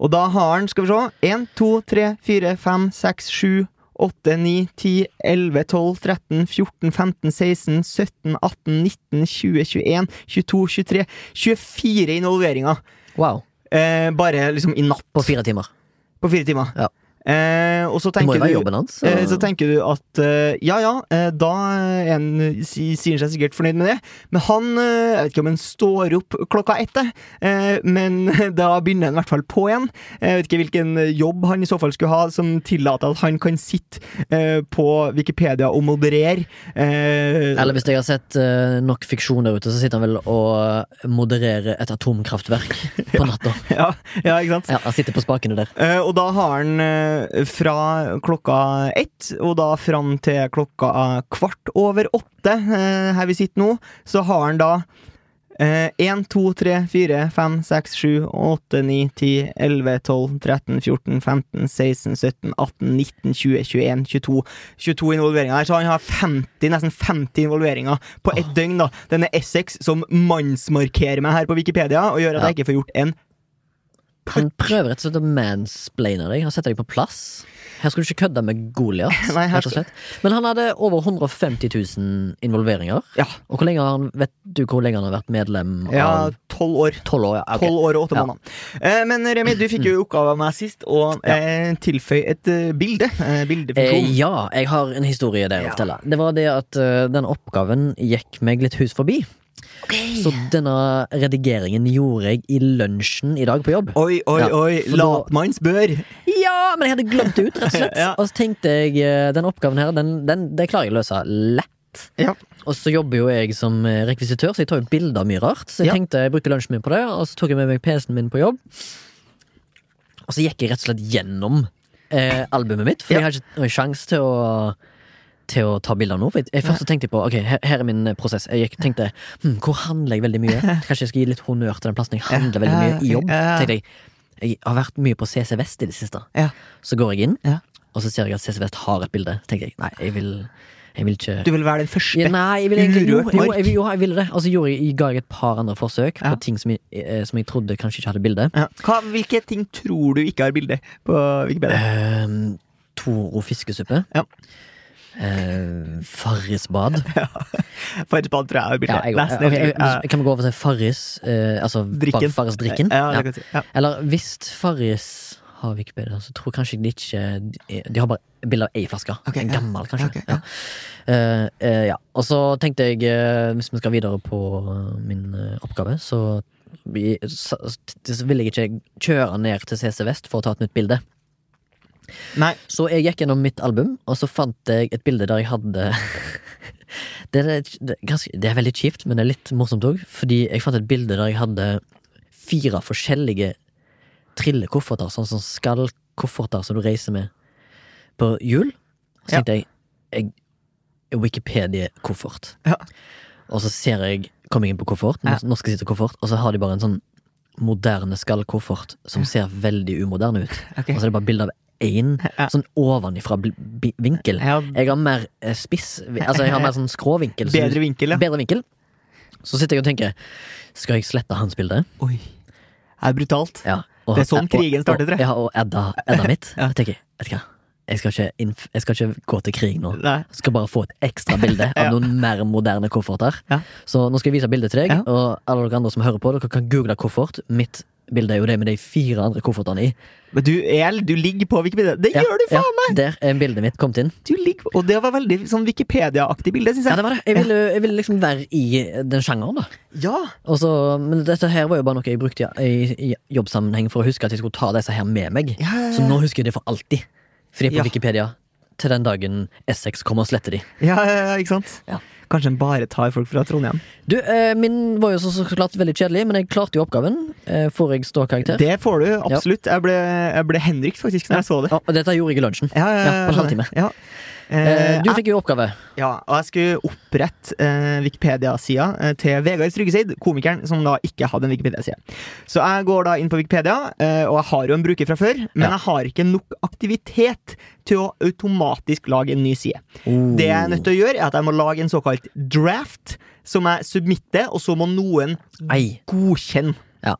Speaker 2: Og da har han, skal vi se 1, 2, 3, 4, 5, 6, 7, 8, 9, 10, 11, 12, 13, 14, 15, 16, 17, 18, 19, 20, 21, 22, 23 24 involveringer.
Speaker 1: Wow.
Speaker 2: Eh, bare liksom i natt.
Speaker 1: På fire timer.
Speaker 2: På fire timer.
Speaker 1: Ja.
Speaker 2: Eh, og så
Speaker 1: Det må
Speaker 2: tenker
Speaker 1: jo være
Speaker 2: du
Speaker 1: jobben hans. altså.
Speaker 2: eh, så tenker du at eh, ja ja, eh, da er han si, sier seg sikkert fornøyd med det. Men han eh, Jeg vet ikke om han står opp klokka ett, eh, men da begynner han i hvert fall på igjen. Eh, Jeg vet ikke hvilken jobb han i så fall skulle ha som tillater at han kan sitte eh, på Wikipedia og moderere. eh,
Speaker 1: Eller hvis jeg har sett eh, nok fiksjon der ute, så sitter han vel og eh, modererer et atomkraftverk på natta.
Speaker 2: ja, ja, ikke sant?
Speaker 1: Ja, han sitter på spakene der.
Speaker 2: Eh, og da har han eh, fra klokka ett og da fram til klokka kvart over åtte, eh, her vi sitter nå, så har han da én, to, tre, fire, fem, seks, sju, åtte, ni, ti, elleve, tolv, 13, 14, 15, 16, 17, 18, 19, 20, 21, 22 22 involveringer her, så han har 50, nesten 50 involveringer på ett døgn. da Denne Essex som mannsmarkerer meg her på Wikipedia og gjør at
Speaker 1: Ja.
Speaker 2: jeg ikke får gjort en
Speaker 1: Han prøver rett og slett å mansplaine deg. Han setter deg på plass. Her skulle du ikke kødde med Goliat.
Speaker 2: Nei, her
Speaker 1: rett og slett. Men han hadde over 150 000 involveringer.
Speaker 2: Ja.
Speaker 1: Og hvor lenge har han, vet du hvor lenge han har vært medlem
Speaker 2: ja,
Speaker 1: av
Speaker 2: tolv år.
Speaker 1: Tolv år, ja. ok.
Speaker 2: Tolv år og åtte
Speaker 1: Ja.
Speaker 2: måneder. Eh, men Remi, du fikk jo oppgave av meg sist å eh, tilføye et eh, bilde. Eh,
Speaker 1: Eh,
Speaker 2: bildefunksjon.
Speaker 1: ja, jeg har en historie der å
Speaker 2: Ja.
Speaker 1: fortelle. Det var det at eh, den oppgaven gikk meg litt hus forbi. Så denne redigeringen gjorde jeg i lunsjen i dag på jobb.
Speaker 2: Oi, oi,
Speaker 1: Ja,
Speaker 2: oi.
Speaker 1: for da-
Speaker 2: Latmanns bør.
Speaker 1: Ja, men jeg hadde glemt det ut, rett og slett.
Speaker 2: Ja.
Speaker 1: Og så tenkte jeg eh, den oppgaven her, den, den, det klarer jeg å løse lett.
Speaker 2: Ja.
Speaker 1: Og så jobber jo jeg som eh, rekvisitør, så jeg tar jo bilder av mye rart. Så jeg
Speaker 2: Ja.
Speaker 1: tenkte jeg bruker lunsjen min på det, og så tok jeg med meg PC-en min på jobb. Og så gikk jeg rett og slett gjennom eh, albumet mitt, for
Speaker 2: Ja.
Speaker 1: jeg har ikke noen sjanse til å til å ta bilder nå, for jeg- jeg først så tenkte jeg på Ok, her, her er min eh, prosess. Jeg gikk, tenkte hm, hvor handler jeg veldig mye? Kanskje jeg skal gi litt honnør til den plassen jeg handler veldig mye i jobb?
Speaker 2: Ja.
Speaker 1: Tenkte jeg Jeg har vært mye på CC Vest i det siste.
Speaker 2: Ja.
Speaker 1: Så går jeg inn,
Speaker 2: Ja.
Speaker 1: og så ser jeg at CC Vest har et bilde. Tenkte jeg, nei, jeg vil, jeg vil ikke
Speaker 2: Du vil være
Speaker 1: ja,
Speaker 2: den første.
Speaker 1: Nei, jeg ville egentlig jo,
Speaker 2: urørt
Speaker 1: jo,
Speaker 2: mark.
Speaker 1: jeg, jo, jeg ville det. Og så gjorde jeg, jeg ga jeg et par andre forsøk
Speaker 2: Ja.
Speaker 1: på ting som jeg, eh, som jeg trodde kanskje ikke hadde bilde.
Speaker 2: Ja. Hva, hvilke ting tror du ikke har bilde på Wikipedia?
Speaker 1: Ehm, Toro fiskesuppe.
Speaker 2: Ja.
Speaker 1: Ehm, Farrisbad.
Speaker 2: Farris bad tror jeg har bilde.
Speaker 1: Eh. Ja, jeg,
Speaker 2: Nesten
Speaker 1: ok,
Speaker 2: helt bilde.
Speaker 1: jeg- kan vi gå over til Farris? eh, altså
Speaker 2: Drikken.
Speaker 1: bare Farris-drikken?
Speaker 2: Ja,
Speaker 1: Ja.
Speaker 2: det kan jeg si. ja.
Speaker 1: Eller hvis Farris har Wikipedia, så tror kanskje de ikke De har bare bilde av ei flaske.
Speaker 2: Ok,
Speaker 1: en
Speaker 2: ja.
Speaker 1: gammel, kanskje.
Speaker 2: Ok,
Speaker 1: ja.
Speaker 2: ja.
Speaker 1: Eh, eh, ja. Og så tenkte jeg, eh, hvis vi skal videre på eh, min eh, oppgave, så, vi, så, så vil jeg ikke kjøre ned til CC Vest for å ta et nytt bilde.
Speaker 2: Nei.
Speaker 1: Så jeg gikk gjennom mitt album, og så fant jeg et bilde der jeg hadde det, er, det, er ganske, det er veldig kjipt, men det er litt morsomt òg, fordi jeg fant et bilde der jeg hadde fire forskjellige trillekofferter, sånn som skallkofferter som du reiser med på jul. Så
Speaker 2: Ja.
Speaker 1: tenkte jeg, jeg Wikipedia-koffert.
Speaker 2: Ja.
Speaker 1: Og så ser jeg, kom jeg inn på koffert,
Speaker 2: Ja.
Speaker 1: nå skal jeg sitte i koffert, og så har de bare en sånn moderne skallkoffert som ser veldig umoderne ut.
Speaker 2: Ok.
Speaker 1: Og så er det bare bilde av én,
Speaker 2: Ja.
Speaker 1: sånn ovenifra bl- bi- vinkel.
Speaker 2: Ja,
Speaker 1: Jeg har mer eh, spiss Altså jeg har mer sånn skråvinkel. så-
Speaker 2: bedre vinkel, ja.
Speaker 1: bedre vinkel. Så sitter jeg og tenker Skal jeg slette hans bilde?
Speaker 2: Oi. Det er brutalt.
Speaker 1: Ja, og,
Speaker 2: Det er sånn
Speaker 1: og-
Speaker 2: krigen startet, tror
Speaker 1: og-
Speaker 2: jeg.
Speaker 1: Ja, og Edda, Edda mitt.
Speaker 2: Ja.
Speaker 1: Jeg tenker Vet du hva, jeg skal, ikke innf jeg skal ikke gå til krig nå.
Speaker 2: Nei.
Speaker 1: Jeg skal bare få et ekstra bilde av
Speaker 2: Ja.
Speaker 1: noen mer moderne kofferter.
Speaker 2: Ja.
Speaker 1: Så nå skal jeg vise bildet til deg,
Speaker 2: Ja.
Speaker 1: og alle dere andre som hører på, dere kan google koffert. Mitt bildet er jo det med de fire andre koffertene i.
Speaker 2: Men du, El, du ligger på Wikipedia. Det gjør du, faen!
Speaker 1: meg! Der er bildet mitt kommet inn.
Speaker 2: Du ligger, og det var veldig sånn Wikipedia-aktig bilde, syns
Speaker 1: Ja,
Speaker 2: jeg.
Speaker 1: det var det. Jeg ville, jeg ville liksom være i den sjangeren, da.
Speaker 2: Ja,
Speaker 1: Og så- men dette her var jo bare noe jeg brukte i, i, i jobbsammenheng for å huske at jeg skulle ta disse her med meg.
Speaker 2: ja, ja,
Speaker 1: Så nå husker jeg det for alltid. Fordi på
Speaker 2: Ja.
Speaker 1: Wikipedia til den dagen Essex kommer og sletter de.
Speaker 2: ja, ja, ja, ikke sant?
Speaker 1: Ja.
Speaker 2: Kanskje en bare tar folk fra Trondheim.
Speaker 1: Du, eh, min var jo så, så klart veldig kjedelig, men jeg klarte jo oppgaven. Eh, får jeg ståkarakter?
Speaker 2: Det får du, absolutt. Jeg, ble, jeg ble henrykt, faktisk, når jeg så det.
Speaker 1: Ja, og dette gjorde jeg i lunsjen.
Speaker 2: Ja, ja,
Speaker 1: Ja, på en halvtime.
Speaker 2: Ja. Eh,
Speaker 1: Eh, du fikk jo oppgave.
Speaker 2: ja, og jeg skulle opprette eh, Wikipedia-sida eh, til Vegard Strygeseid, komikeren som da ikke hadde en Wikipedia-side. Så jeg går da inn på Wikipedia, eh, og jeg har jo en bruker fra før, men
Speaker 1: Ja.
Speaker 2: jeg har ikke nok aktivitet til å automatisk lage en ny side. Det
Speaker 1: Oh,
Speaker 2: jeg er nødt til å gjøre, er at jeg må lage en såkalt draft, som jeg submitter, og så må noen
Speaker 1: Ei.
Speaker 2: godkjenne.
Speaker 1: Ja.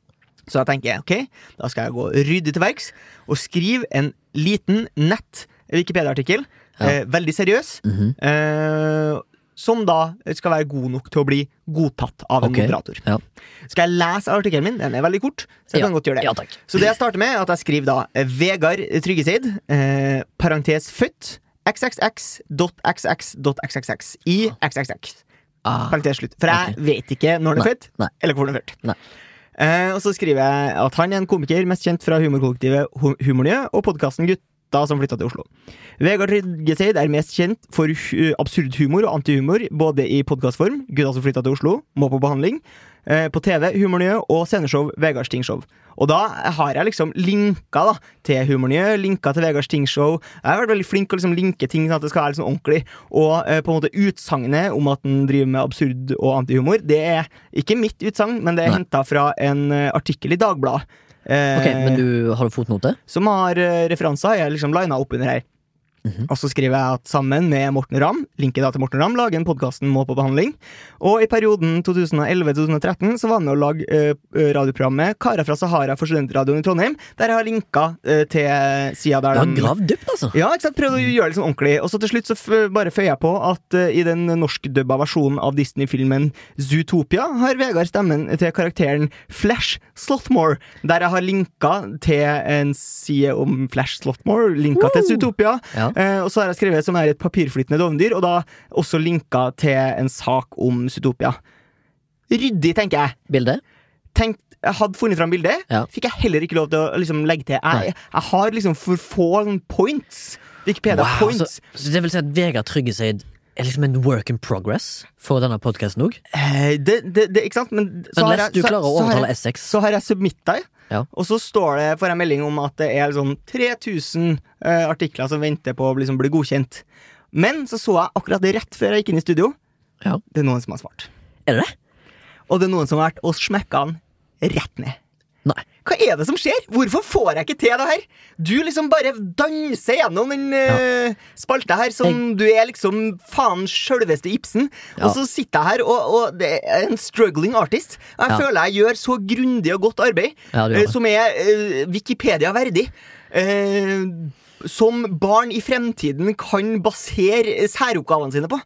Speaker 2: Så jeg tenker ok, da skal jeg gå ryddig til verks og skrive en liten nett Wikipedia-artikkel.
Speaker 1: Ja.
Speaker 2: Eh, veldig seriøs.
Speaker 1: Mhm.
Speaker 2: eh, som da skal være god nok til å bli godtatt av en
Speaker 1: Ok.
Speaker 2: moderator.
Speaker 1: Ja.
Speaker 2: Skal jeg lese artikkelen min? Den er veldig kort. så jeg kan godt gjøre det.
Speaker 1: Ja, takk.
Speaker 2: Så det jeg starter med, er at jeg skriver da eh, Vegard Tryggeseid, eh, parentes født, xxx.xx.xxx i xxx.
Speaker 1: Ah,
Speaker 2: Parentes slutt. For jeg vet ikke når den er født,
Speaker 1: nei.
Speaker 2: eller hvor den er født.
Speaker 1: Nei.
Speaker 2: Eh, og så skriver jeg at han er en komiker, mest kjent fra humorkollektivet Hu- Humornytt og podkasten Gutta som flytta til Oslo. Vegard Tryggeseid er mest kjent for hu- absurd humor og antihumor, både i podkastform, Gutta som flytta til Oslo, Må på behandling, eh, på TV, Humornytt og sceneshow Vegards Tingshow. Og da har jeg liksom linka da, til Humornytt, linka til Vegards Tingshow. Jeg har vært veldig flink til å liksom linke ting sånn at det skal være liksom ordentlig. Og eh, på en måte utsagnet om at den driver med absurd og antihumor, det er ikke mitt utsagn, men det er
Speaker 1: Nei.
Speaker 2: henta fra en eh, artikkel i Dagbladet. eh,
Speaker 1: Ok, men du har du fotnote?
Speaker 2: som har eh, referanser. Jeg har liksom lina opp under her. Og så skriver jeg at sammen med Morten Ramm, linket da til Morten Ramm, lager en podkasten Må på behandling. Og i perioden 2011-2013 så var han med å lage eh, radioprogrammet Kara fra Sahara for studentradioen i Trondheim, der jeg har linka eh, til sida
Speaker 1: Du
Speaker 2: der
Speaker 1: har
Speaker 2: de-
Speaker 1: gravd dypt, altså.
Speaker 2: ja, ikke sant? Prøvde å gjøre det sånn ordentlig. Og så til slutt så f bare føyer jeg på at eh, i den norskdubba versjonen av Disney-filmen Zootopia har Vegard stemmen til karakteren Flash Slothmore, der jeg har linka til en side om Flash Slothmore, linka til Zootopia.
Speaker 1: Ja.
Speaker 2: Eh, og så har jeg skrevet som er et papirflytende dovendyr, og da også linka til en sak om Zootopia. Ryddig, tenker jeg
Speaker 1: Bildet?
Speaker 2: tenkt, jeg hadde funnet fram bildet,
Speaker 1: Ja.
Speaker 2: fikk jeg heller ikke lov til å liksom, legge til.
Speaker 1: Nei.
Speaker 2: Jeg, jeg har liksom for få points. Wikipedia
Speaker 1: så,
Speaker 2: points.
Speaker 1: så det vil si at Vegard Tryggeseid er liksom en work in progress for denne podkasten òg?
Speaker 2: Eh, det, det, det, ikke sant? Men,
Speaker 1: Men lest du klarer å
Speaker 2: så har
Speaker 1: overtale
Speaker 2: jeg,
Speaker 1: Essex.
Speaker 2: så har jeg submitta,
Speaker 1: Ja.
Speaker 2: og så står det får jeg melding om at det er sånn 3000 eh, artikler som venter på å liksom, bli godkjent. Men så så jeg akkurat rett før jeg gikk inn i studio,
Speaker 1: Ja.
Speaker 2: det er noen som har svart.
Speaker 1: Er det det?
Speaker 2: Og det er noen som har vært og smekka den rett ned.
Speaker 1: Nei.
Speaker 2: Hva er det som skjer? Hvorfor får jeg ikke til det her? Du liksom bare danser gjennom den eh, spalta her som du er liksom faen sjølveste Ibsen.
Speaker 1: Ja.
Speaker 2: Og så sitter jeg her og, og det er en struggling artist. Jeg
Speaker 1: Ja.
Speaker 2: føler jeg gjør så grundig og godt arbeid
Speaker 1: Ja, du gjør
Speaker 2: eh,
Speaker 1: det.
Speaker 2: som er eh, Wikipedia verdig. Eh, som barn i fremtiden kan basere særoppgavene sine på.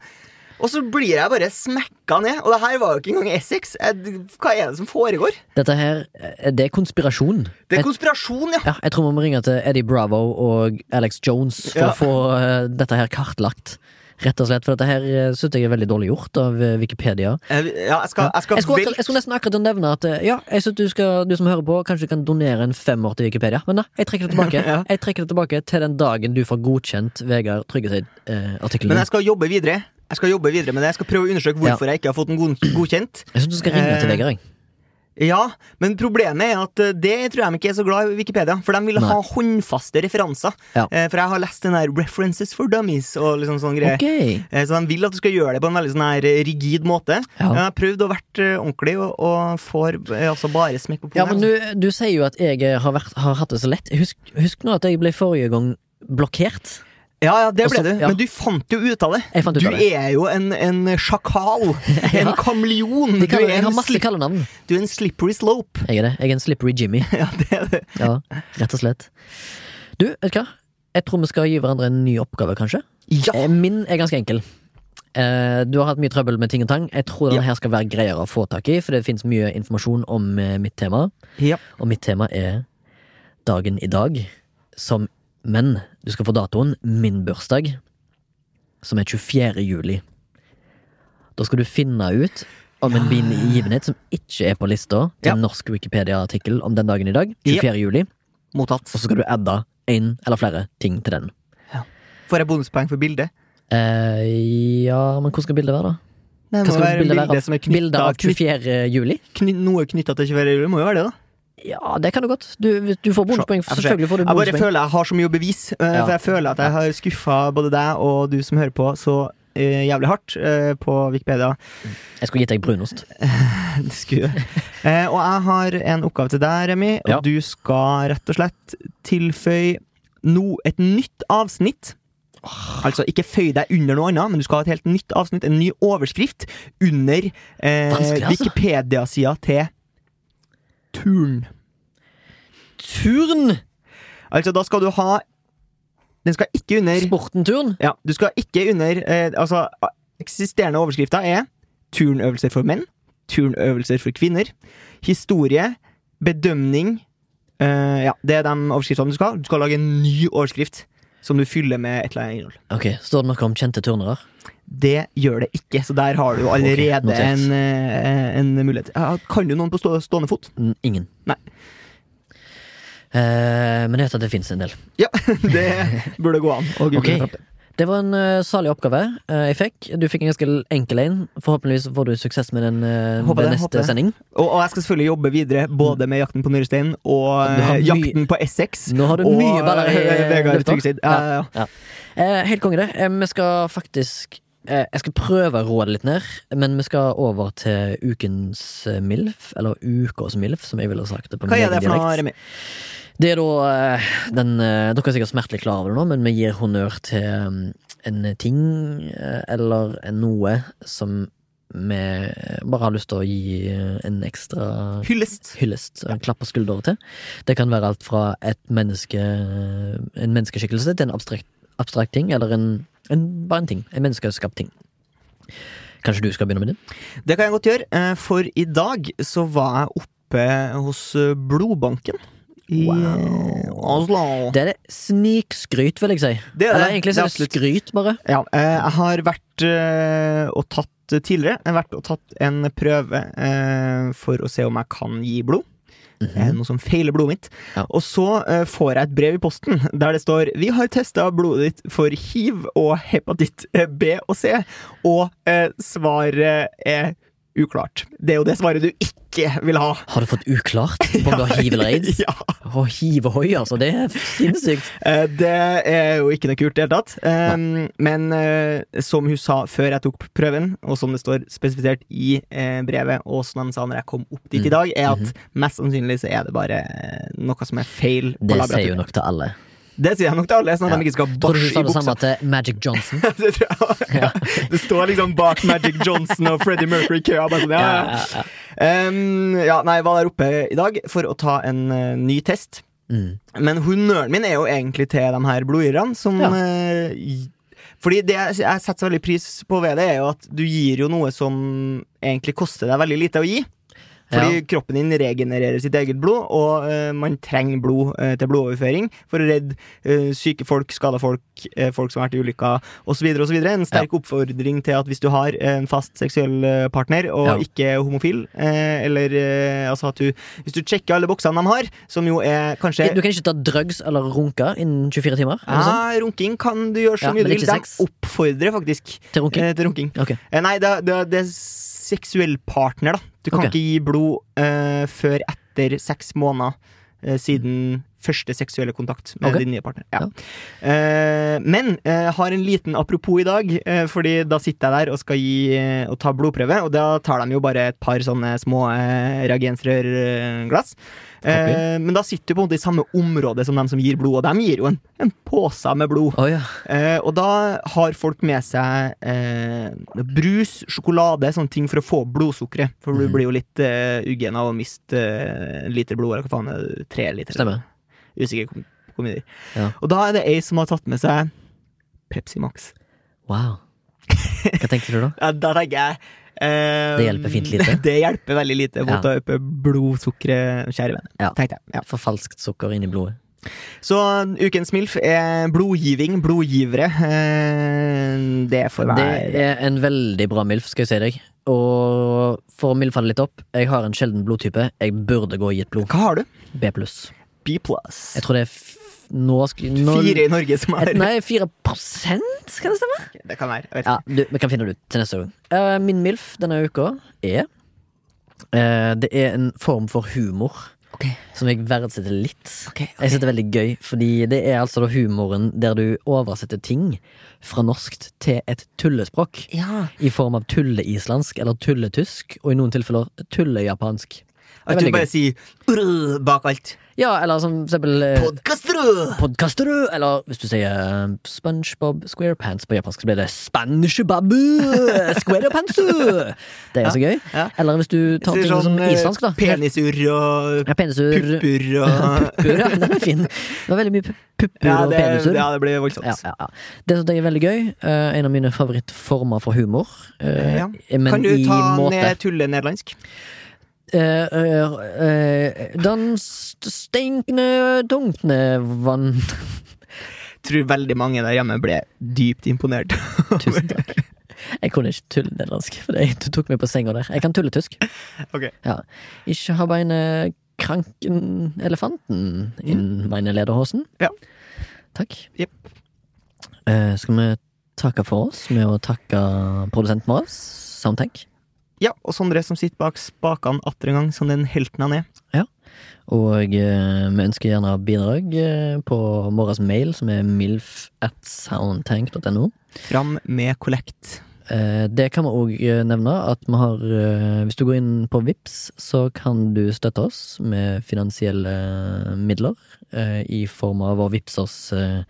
Speaker 2: Og så blir jeg bare smekka ned. Og det her var jo ikke engang Essex. Jeg, hva er det som foregår?
Speaker 1: Dette her, eh, det er konspirasjon.
Speaker 2: Det er
Speaker 1: jeg,
Speaker 2: konspirasjon, ja.
Speaker 1: ja, jeg tror vi må ringe til Eddie Bravo og Alex Jones for
Speaker 2: Ja.
Speaker 1: å få eh, dette her kartlagt. Rett og slett, for dette her eh, synes jeg er veldig dårlig gjort av eh, Wikipedia.
Speaker 2: Jeg, ja, jeg skal, jeg skal
Speaker 1: Jeg skulle, akkurat-
Speaker 2: vel-
Speaker 1: jeg skulle nesten akkurat til å nevne at eh, ja, jeg synes du, skal, du som hører på, kanskje kan donere en femmer til Wikipedia. Men nei, jeg trekker det tilbake
Speaker 2: Ja.
Speaker 1: Jeg trekker det tilbake til den dagen du får godkjent Vegard eh, Tryggeseid-artikkelen.
Speaker 2: Men
Speaker 1: din
Speaker 2: jeg skal jobbe videre. Jeg skal jobbe videre med det Jeg skal prøve å undersøke hvorfor jeg ikke har fått den god, godkjent.
Speaker 1: jeg synes du skal ringe til
Speaker 2: eh,
Speaker 1: Vegard. jeg.
Speaker 2: Ja, Men problemet er at eh, det tror jeg de ikke er så glad i Wikipedia. For de vil
Speaker 1: Nei.
Speaker 2: ha håndfaste referanser.
Speaker 1: Ja.
Speaker 2: Eh, For jeg har lest den der References for Dummies og liksom sånn greier.
Speaker 1: Ok.
Speaker 2: Eh, Så de vil at du skal gjøre det på en veldig sånn her eh, rigid måte.
Speaker 1: Ja.
Speaker 2: Jeg har prøvd å vært eh, ordentlig og, og får eh, altså bare smekk på
Speaker 1: Ja,
Speaker 2: pungen.
Speaker 1: men du, du sier jo at jeg eh, har, vært, har hatt det så lett. Husk, husk nå at jeg ble forrige gang blokkert.
Speaker 2: ja, ja, det ble
Speaker 1: Også-
Speaker 2: du.
Speaker 1: Altså, ja.
Speaker 2: Men du fant jo ut av det.
Speaker 1: Jeg fant ut
Speaker 2: du
Speaker 1: av det.
Speaker 2: er jo en, en sjakal. En kameleon.
Speaker 1: De
Speaker 2: Du
Speaker 1: kaller,
Speaker 2: er
Speaker 1: jeg har
Speaker 2: en,
Speaker 1: masse
Speaker 2: slip,
Speaker 1: kallenavn.
Speaker 2: du er en slippery slope.
Speaker 1: Jeg er det. Jeg er en slippery Jimmy.
Speaker 2: Ja, det er det.
Speaker 1: Ja, rett og slett. Du, vet du hva? Jeg tror vi skal gi hverandre en ny oppgave, kanskje.
Speaker 2: Ja.
Speaker 1: Eh, Min er ganske enkel. Eh, Eh, du har hatt mye trøbbel med ting og tang. Jeg tror denne her skal være greiere å få tak i, for det finnes mye informasjon om eh, mitt tema.
Speaker 2: Ja.
Speaker 1: Og mitt tema er dagen i dag, som Men du skal få datoen. Min bursdag, som er 24. juli. Da skal du finne ut om en begivenhet som ikke er på lista til
Speaker 2: Ja.
Speaker 1: en norsk Wikipedia-artikkel om den dagen i dag, 24. juli,
Speaker 2: Mottatt.
Speaker 1: og så skal du adde én eller flere ting til den.
Speaker 2: Får jeg bonuspoeng for bildet?
Speaker 1: Eh, ja, men hvordan skal bildet være, da?
Speaker 2: Nei, det
Speaker 1: Hva
Speaker 2: må
Speaker 1: skal
Speaker 2: være
Speaker 1: bildet
Speaker 2: bilde
Speaker 1: være av-
Speaker 2: som er
Speaker 1: Bildet av
Speaker 2: knytta
Speaker 1: 24. juli?
Speaker 2: Noe knytta til 24. juli må jo være det, da.
Speaker 1: Ja, det kan du godt. Du, du får bonuspoeng.
Speaker 2: Jeg får se.
Speaker 1: Selvfølgelig får du
Speaker 2: Jeg bare
Speaker 1: bonuspoeng.
Speaker 2: føler jeg har så mye bevis, eh,
Speaker 1: Ja.
Speaker 2: for jeg føler at jeg har skuffa både deg og du som hører på, så eh, jævlig hardt eh, på Wikipedia.
Speaker 1: Jeg skulle gitt deg brunost.
Speaker 2: Det skulle jeg. Eh, og jeg har en oppgave til deg, Remi, og
Speaker 1: Ja.
Speaker 2: du skal rett og slett tilføye no, et nytt avsnitt. Altså, ikke føy deg under noe annet, men du skal ha et helt nytt avsnitt, en ny overskrift, under eh,
Speaker 1: Vanskelig, altså.
Speaker 2: Wikipedia-sida til turn.
Speaker 1: Turn!
Speaker 2: Altså, da skal du ha Den skal ikke under
Speaker 1: Sporten-turn.
Speaker 2: Ja, du skal ikke under eh, Altså, eksisterende overskrifter er turnøvelser for menn, turnøvelser for kvinner, historie, bedømning eh, Ja, det er de overskriftene du skal ha. Du skal lage en ny overskrift som du fyller med et eller annet innhold.
Speaker 1: Ok, Står det noe om kjente turnere?
Speaker 2: Det gjør det ikke, så der har du jo allerede
Speaker 1: Ok, notert.
Speaker 2: en, eh, en mulighet. Ja, Kan du noen på stå, stående fot?
Speaker 1: N- Ingen.
Speaker 2: Nei.
Speaker 1: Eh, men jeg vet at det fins en del.
Speaker 2: Ja, det burde gå an. å google
Speaker 1: Ok.
Speaker 2: fram til.
Speaker 1: Det var en eh, salig oppgave eh, jeg fikk. Du fikk en ganske l- enkel en. Forhåpentligvis får du suksess med den eh,
Speaker 2: Håper
Speaker 1: ved
Speaker 2: det, håper
Speaker 1: neste
Speaker 2: det.
Speaker 1: sending.
Speaker 2: Og, og jeg skal selvfølgelig jobbe videre både med Jakten på Nyrestein og
Speaker 1: Du har
Speaker 2: eh,
Speaker 1: mye-
Speaker 2: Jakten på Essex.
Speaker 1: Nå har du
Speaker 2: og
Speaker 1: mye baller i
Speaker 2: eh, Vegard
Speaker 1: lufta.
Speaker 2: Tryggeseid. Ja, ja, ja.
Speaker 1: Eh, helt konge, det. Eh, vi skal faktisk eh, Jeg skal prøve å roe det litt ned, men vi skal over til ukens eh, MILF, eller ukas MILF, som jeg ville ha sagt det på
Speaker 2: Hva
Speaker 1: min
Speaker 2: er det
Speaker 1: egen
Speaker 2: for noe,
Speaker 1: dialekt.
Speaker 2: Remi?
Speaker 1: Det er da eh, den, eh, Dere er sikkert smertelig klar over det nå, men vi gir honnør til mm, en ting eh, eller en noe som vi eh, bare har lyst til å gi eh, en ekstra
Speaker 2: Hyllest.
Speaker 1: hyllest, en klapp på skulderen til. Det kan være alt fra et menneske, en menneskeskikkelse til en abstrakt, abstrakt ting, eller en, en, bare en ting. En menneskeskapt ting. Kanskje du skal begynne med det?
Speaker 2: Det kan jeg godt gjøre, eh, for i dag så var jeg oppe hos eh, Blodbanken. I eh, Oslo.
Speaker 1: Det er det snikskryt, vil jeg si.
Speaker 2: Det
Speaker 1: Eller egentlig så er det
Speaker 2: absolutt.
Speaker 1: skryt, bare.
Speaker 2: Ja, eh, jeg har vært eh, og tatt eh, tidligere Jeg har vært og tatt en prøve eh, for å se om jeg kan gi blod. Eh, Noe som feiler blodet mitt.
Speaker 1: Mhm. Ja.
Speaker 2: Og så eh, får jeg et brev i posten der det står Vi har testa blodet ditt for hiv og hepatitt eh, B og C, og eh, svaret er uklart. Det er jo det svaret du ikke vil ha.
Speaker 1: Har du fått uklart om du har hiv eller aids?
Speaker 2: ja.
Speaker 1: Å, hiv og hoi, altså. Det er sinnssykt.
Speaker 2: Eh, Det er jo ikke noe kult i det hele tatt. Eh, Men eh, som hun sa før jeg tok prøven, og som det står spesifisert i eh, brevet, og som de sa når jeg kom opp
Speaker 1: Mm.
Speaker 2: dit i dag, er
Speaker 1: Mhm.
Speaker 2: at mest sannsynlig så er det bare eh, noe som er feil. på
Speaker 1: Det sier jo
Speaker 2: laboratoriet.
Speaker 1: nok til alle.
Speaker 2: Det sier jeg nok til alle, sånn at de ikke skal
Speaker 1: Tror du du
Speaker 2: bæsje i
Speaker 1: sa det
Speaker 2: buksa.
Speaker 1: samme til Magic Johnson?
Speaker 2: Det, tror jeg. Ja. det står liksom bak Magic Johnson og Freddie Mercury i køa. Bare sånn, ja, ja. Um, ja, nei, jeg var der oppe i dag for å ta en eh, ny test.
Speaker 1: Mm.
Speaker 2: Men honnøren min er jo egentlig til de her blodgirerne som
Speaker 1: Ja.
Speaker 2: eh, gi- Fordi det jeg jeg setter så veldig pris på ved det, er jo at du gir jo noe som egentlig koster deg veldig lite å gi.
Speaker 1: Ja.
Speaker 2: Fordi kroppen din regenererer sitt eget blod, og eh, man trenger blod eh, til blodoverføring for å redde eh, syke folk, skada folk, eh, folk som har vært i ulykker osv. osv. En sterk oppfordring til at hvis du har en fast seksuell eh, partner og
Speaker 1: Ja.
Speaker 2: ikke er homofil, eh, eller eh, altså at du Hvis du sjekker alle boksene de har, som jo er kanskje
Speaker 1: Du kan ikke ta drugs eller runke innen 24 timer? Er det sånn?
Speaker 2: ja, runking kan du gjøre så
Speaker 1: Ja,
Speaker 2: mye
Speaker 1: men
Speaker 2: du vil.
Speaker 1: ikke
Speaker 2: De
Speaker 1: sex.
Speaker 2: oppfordrer faktisk
Speaker 1: Til runking?
Speaker 2: eh, til runking.
Speaker 1: Ok.
Speaker 2: Eh, nei, det, det, det er seksuell partner, da. Du kan
Speaker 1: Ok.
Speaker 2: ikke gi blod eh, før etter seks måneder eh, siden første seksuelle kontakt med
Speaker 1: Ok.
Speaker 2: din nye partner. Ja. Eh, men eh, har en liten apropos i dag, eh, Fordi da sitter jeg der og skal gi eh, og ta blodprøve, og da tar de jo bare et par sånne små eh, reagensrørglass. Eh, men da sitter du på en måte i samme område som dem som gir blod, og dem gir jo en, en pose med blod.
Speaker 1: Å ja.
Speaker 2: Eh, og da har folk med seg eh, brus, sjokolade, sånne ting for å få opp blodsukkeret. For du
Speaker 1: Mhm.
Speaker 2: blir jo litt eh, uggen av å miste eh, en liter blod, eller hva faen er det? Tre liter?
Speaker 1: Stemmer.
Speaker 2: Usikker på hvor mye det er.
Speaker 1: Ja.
Speaker 2: Og da er det ei som har tatt med seg Pepsi Max.
Speaker 1: Wow. Hva tenkte du da?
Speaker 2: Ja, da tenker jeg eh,
Speaker 1: Det hjelper fint lite.
Speaker 2: Det hjelper veldig lite mot
Speaker 1: Ja.
Speaker 2: å øke eh, blodsukkeret, kjære venn.
Speaker 1: Ja.
Speaker 2: Tenkte jeg. Ja.
Speaker 1: For falskt sukker inni blodet.
Speaker 2: Så ukens MILF er blodgiving, blodgivere. Eh, det får
Speaker 1: Det
Speaker 2: være
Speaker 1: er en veldig bra MILF, skal jeg si deg. Og for å milfe det litt opp, jeg har en sjelden blodtype. Jeg burde gå og gi et blod.
Speaker 2: Hva har du?
Speaker 1: B pluss.
Speaker 2: B plus.
Speaker 1: Jeg tror det er f nå skal, nå,
Speaker 2: Fire i Norge som har
Speaker 1: et, Nei, fire prosent, kan det stemme?
Speaker 2: Det kan være. Jeg vet ikke.
Speaker 1: Ja, du, Vi kan finne det ut til neste gang. Eh, min MILF denne uka er eh, Det er en form for humor
Speaker 2: Ok.
Speaker 1: som jeg verdsetter litt.
Speaker 2: Ok, ok.
Speaker 1: Jeg synes det er veldig gøy, fordi det er altså da humoren der du oversetter ting fra norsk til et tullespråk.
Speaker 2: Ja.
Speaker 1: I form av tulleislandsk eller tulletysk, og i noen tilfeller tullejapansk. Det er
Speaker 2: At du
Speaker 1: veldig
Speaker 2: bare
Speaker 1: gøy.
Speaker 2: sier «Brr» bak alt.
Speaker 1: Ja, eller som for eksempel eh,
Speaker 2: Podkastrø!
Speaker 1: Podkasterud, eller hvis du sier eh, SpongeBob SquarePants på japansk, så blir det SpongeBob eh, SquarePants. Det er jo så gøy.
Speaker 2: ja.
Speaker 1: Eller hvis du tar ting som islandsk, da.
Speaker 2: Penisur sånn, eh, og
Speaker 1: Ja, penisur.
Speaker 2: pupper og
Speaker 1: Pupper, ja, den er fin. Det var veldig mye pu- pupper
Speaker 2: ja
Speaker 1: og
Speaker 2: det,
Speaker 1: penisur.
Speaker 2: ja, det blir voldsomt.
Speaker 1: Ja, ja, ja. Det som jeg er veldig gøy, eh, en av mine favorittformer for humor, eh,
Speaker 2: Ja.
Speaker 1: men
Speaker 2: kan du
Speaker 1: i
Speaker 2: ta
Speaker 1: måte
Speaker 2: ned tulle nederlandsk?
Speaker 1: Eh, eh, eh, Den st- stinkende, dunkende vann
Speaker 2: Tror veldig mange der hjemme ble dypt imponert.
Speaker 1: Tusen takk. Jeg kunne ikke tulle nederlandsk, for det- du tok meg på senga der. Jeg kan tulle tysk.
Speaker 2: Ok.
Speaker 1: Ja. Ikke ha beine kranken elefanten inn meine lederhosen.
Speaker 2: Mm. Ja.
Speaker 1: Takk.
Speaker 2: Jep.
Speaker 1: Eh, skal vi takke for oss med å takke produsenten vår, Soundtank,
Speaker 2: Ja, og Sondre som sitter bak spakene atter en gang, som den helten han er.
Speaker 1: og eh, vi ønsker gjerne bidrag eh, på vår mail, som er milf at soundtank.no.
Speaker 2: Fram med kollekt.
Speaker 1: Eh, Det kan vi òg nevne, at vi har eh, Hvis du går inn på VIPS så kan du støtte oss med finansielle midler. eh, I form av å vippse oss eh,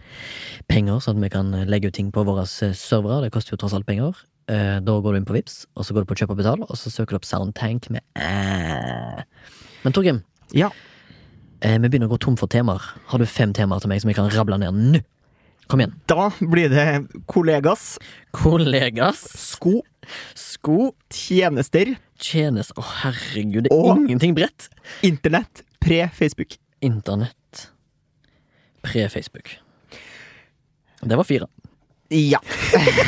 Speaker 1: penger, sånn at vi kan legge ut ting på våre eh, servere. Det koster jo tross alt penger. Eh, Da går du inn på VIPS og så går du på kjøp og betal, og så søker du opp Soundtank med æ. Men Torgrim,
Speaker 2: Ja.
Speaker 1: eh, vi begynner å gå tom for temaer. Har du fem temaer til meg som jeg kan rable ned nå? Kom igjen.
Speaker 2: Da blir det kollegas,
Speaker 1: Kollegas,
Speaker 2: sko,
Speaker 1: sko
Speaker 2: tjenester,
Speaker 1: Tjenes, å herregud, det er
Speaker 2: Åh.
Speaker 1: ingenting bredt.
Speaker 2: internett, pre-Facebook.
Speaker 1: Internett. Pre-Facebook. Det var fire.
Speaker 2: Ja.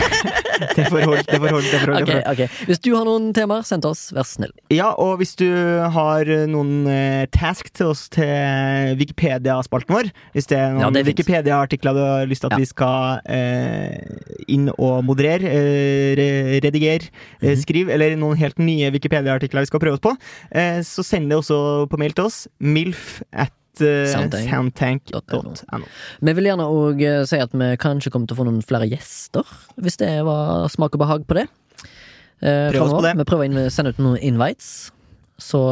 Speaker 2: det får holde, det får holde. Det får holde, det
Speaker 1: Ok,
Speaker 2: får holde.
Speaker 1: ok. Hvis du har noen temaer, send til oss. Vær så snill.
Speaker 2: Ja, og hvis du har eh, noen eh, task til oss til Wikipedia-spalten vår, hvis det er noen
Speaker 1: Ja, det finnes.
Speaker 2: Wikipedia-artikler du har lyst til at
Speaker 1: Ja.
Speaker 2: vi skal eh, inn og moderere, eh, re- redigere,
Speaker 1: Mhm.
Speaker 2: eh, skrive, eller noen helt nye Wikipedia-artikler vi skal prøve oss på, eh, så send det også på mail til oss. milf at eh,
Speaker 1: Soundtank.
Speaker 2: soundtank.no.
Speaker 1: Vi vil gjerne òg eh, si at vi kanskje kommer til å få noen flere gjester, hvis det var smak og behag på det. Eh,
Speaker 2: Prøv oss på
Speaker 1: fremover.
Speaker 2: det.
Speaker 1: Vi prøver å sende ut noen invites, så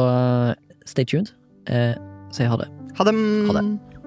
Speaker 1: eh, stay tuned. Eh, Sier ha det.
Speaker 2: Ha det.
Speaker 1: Ha
Speaker 2: det.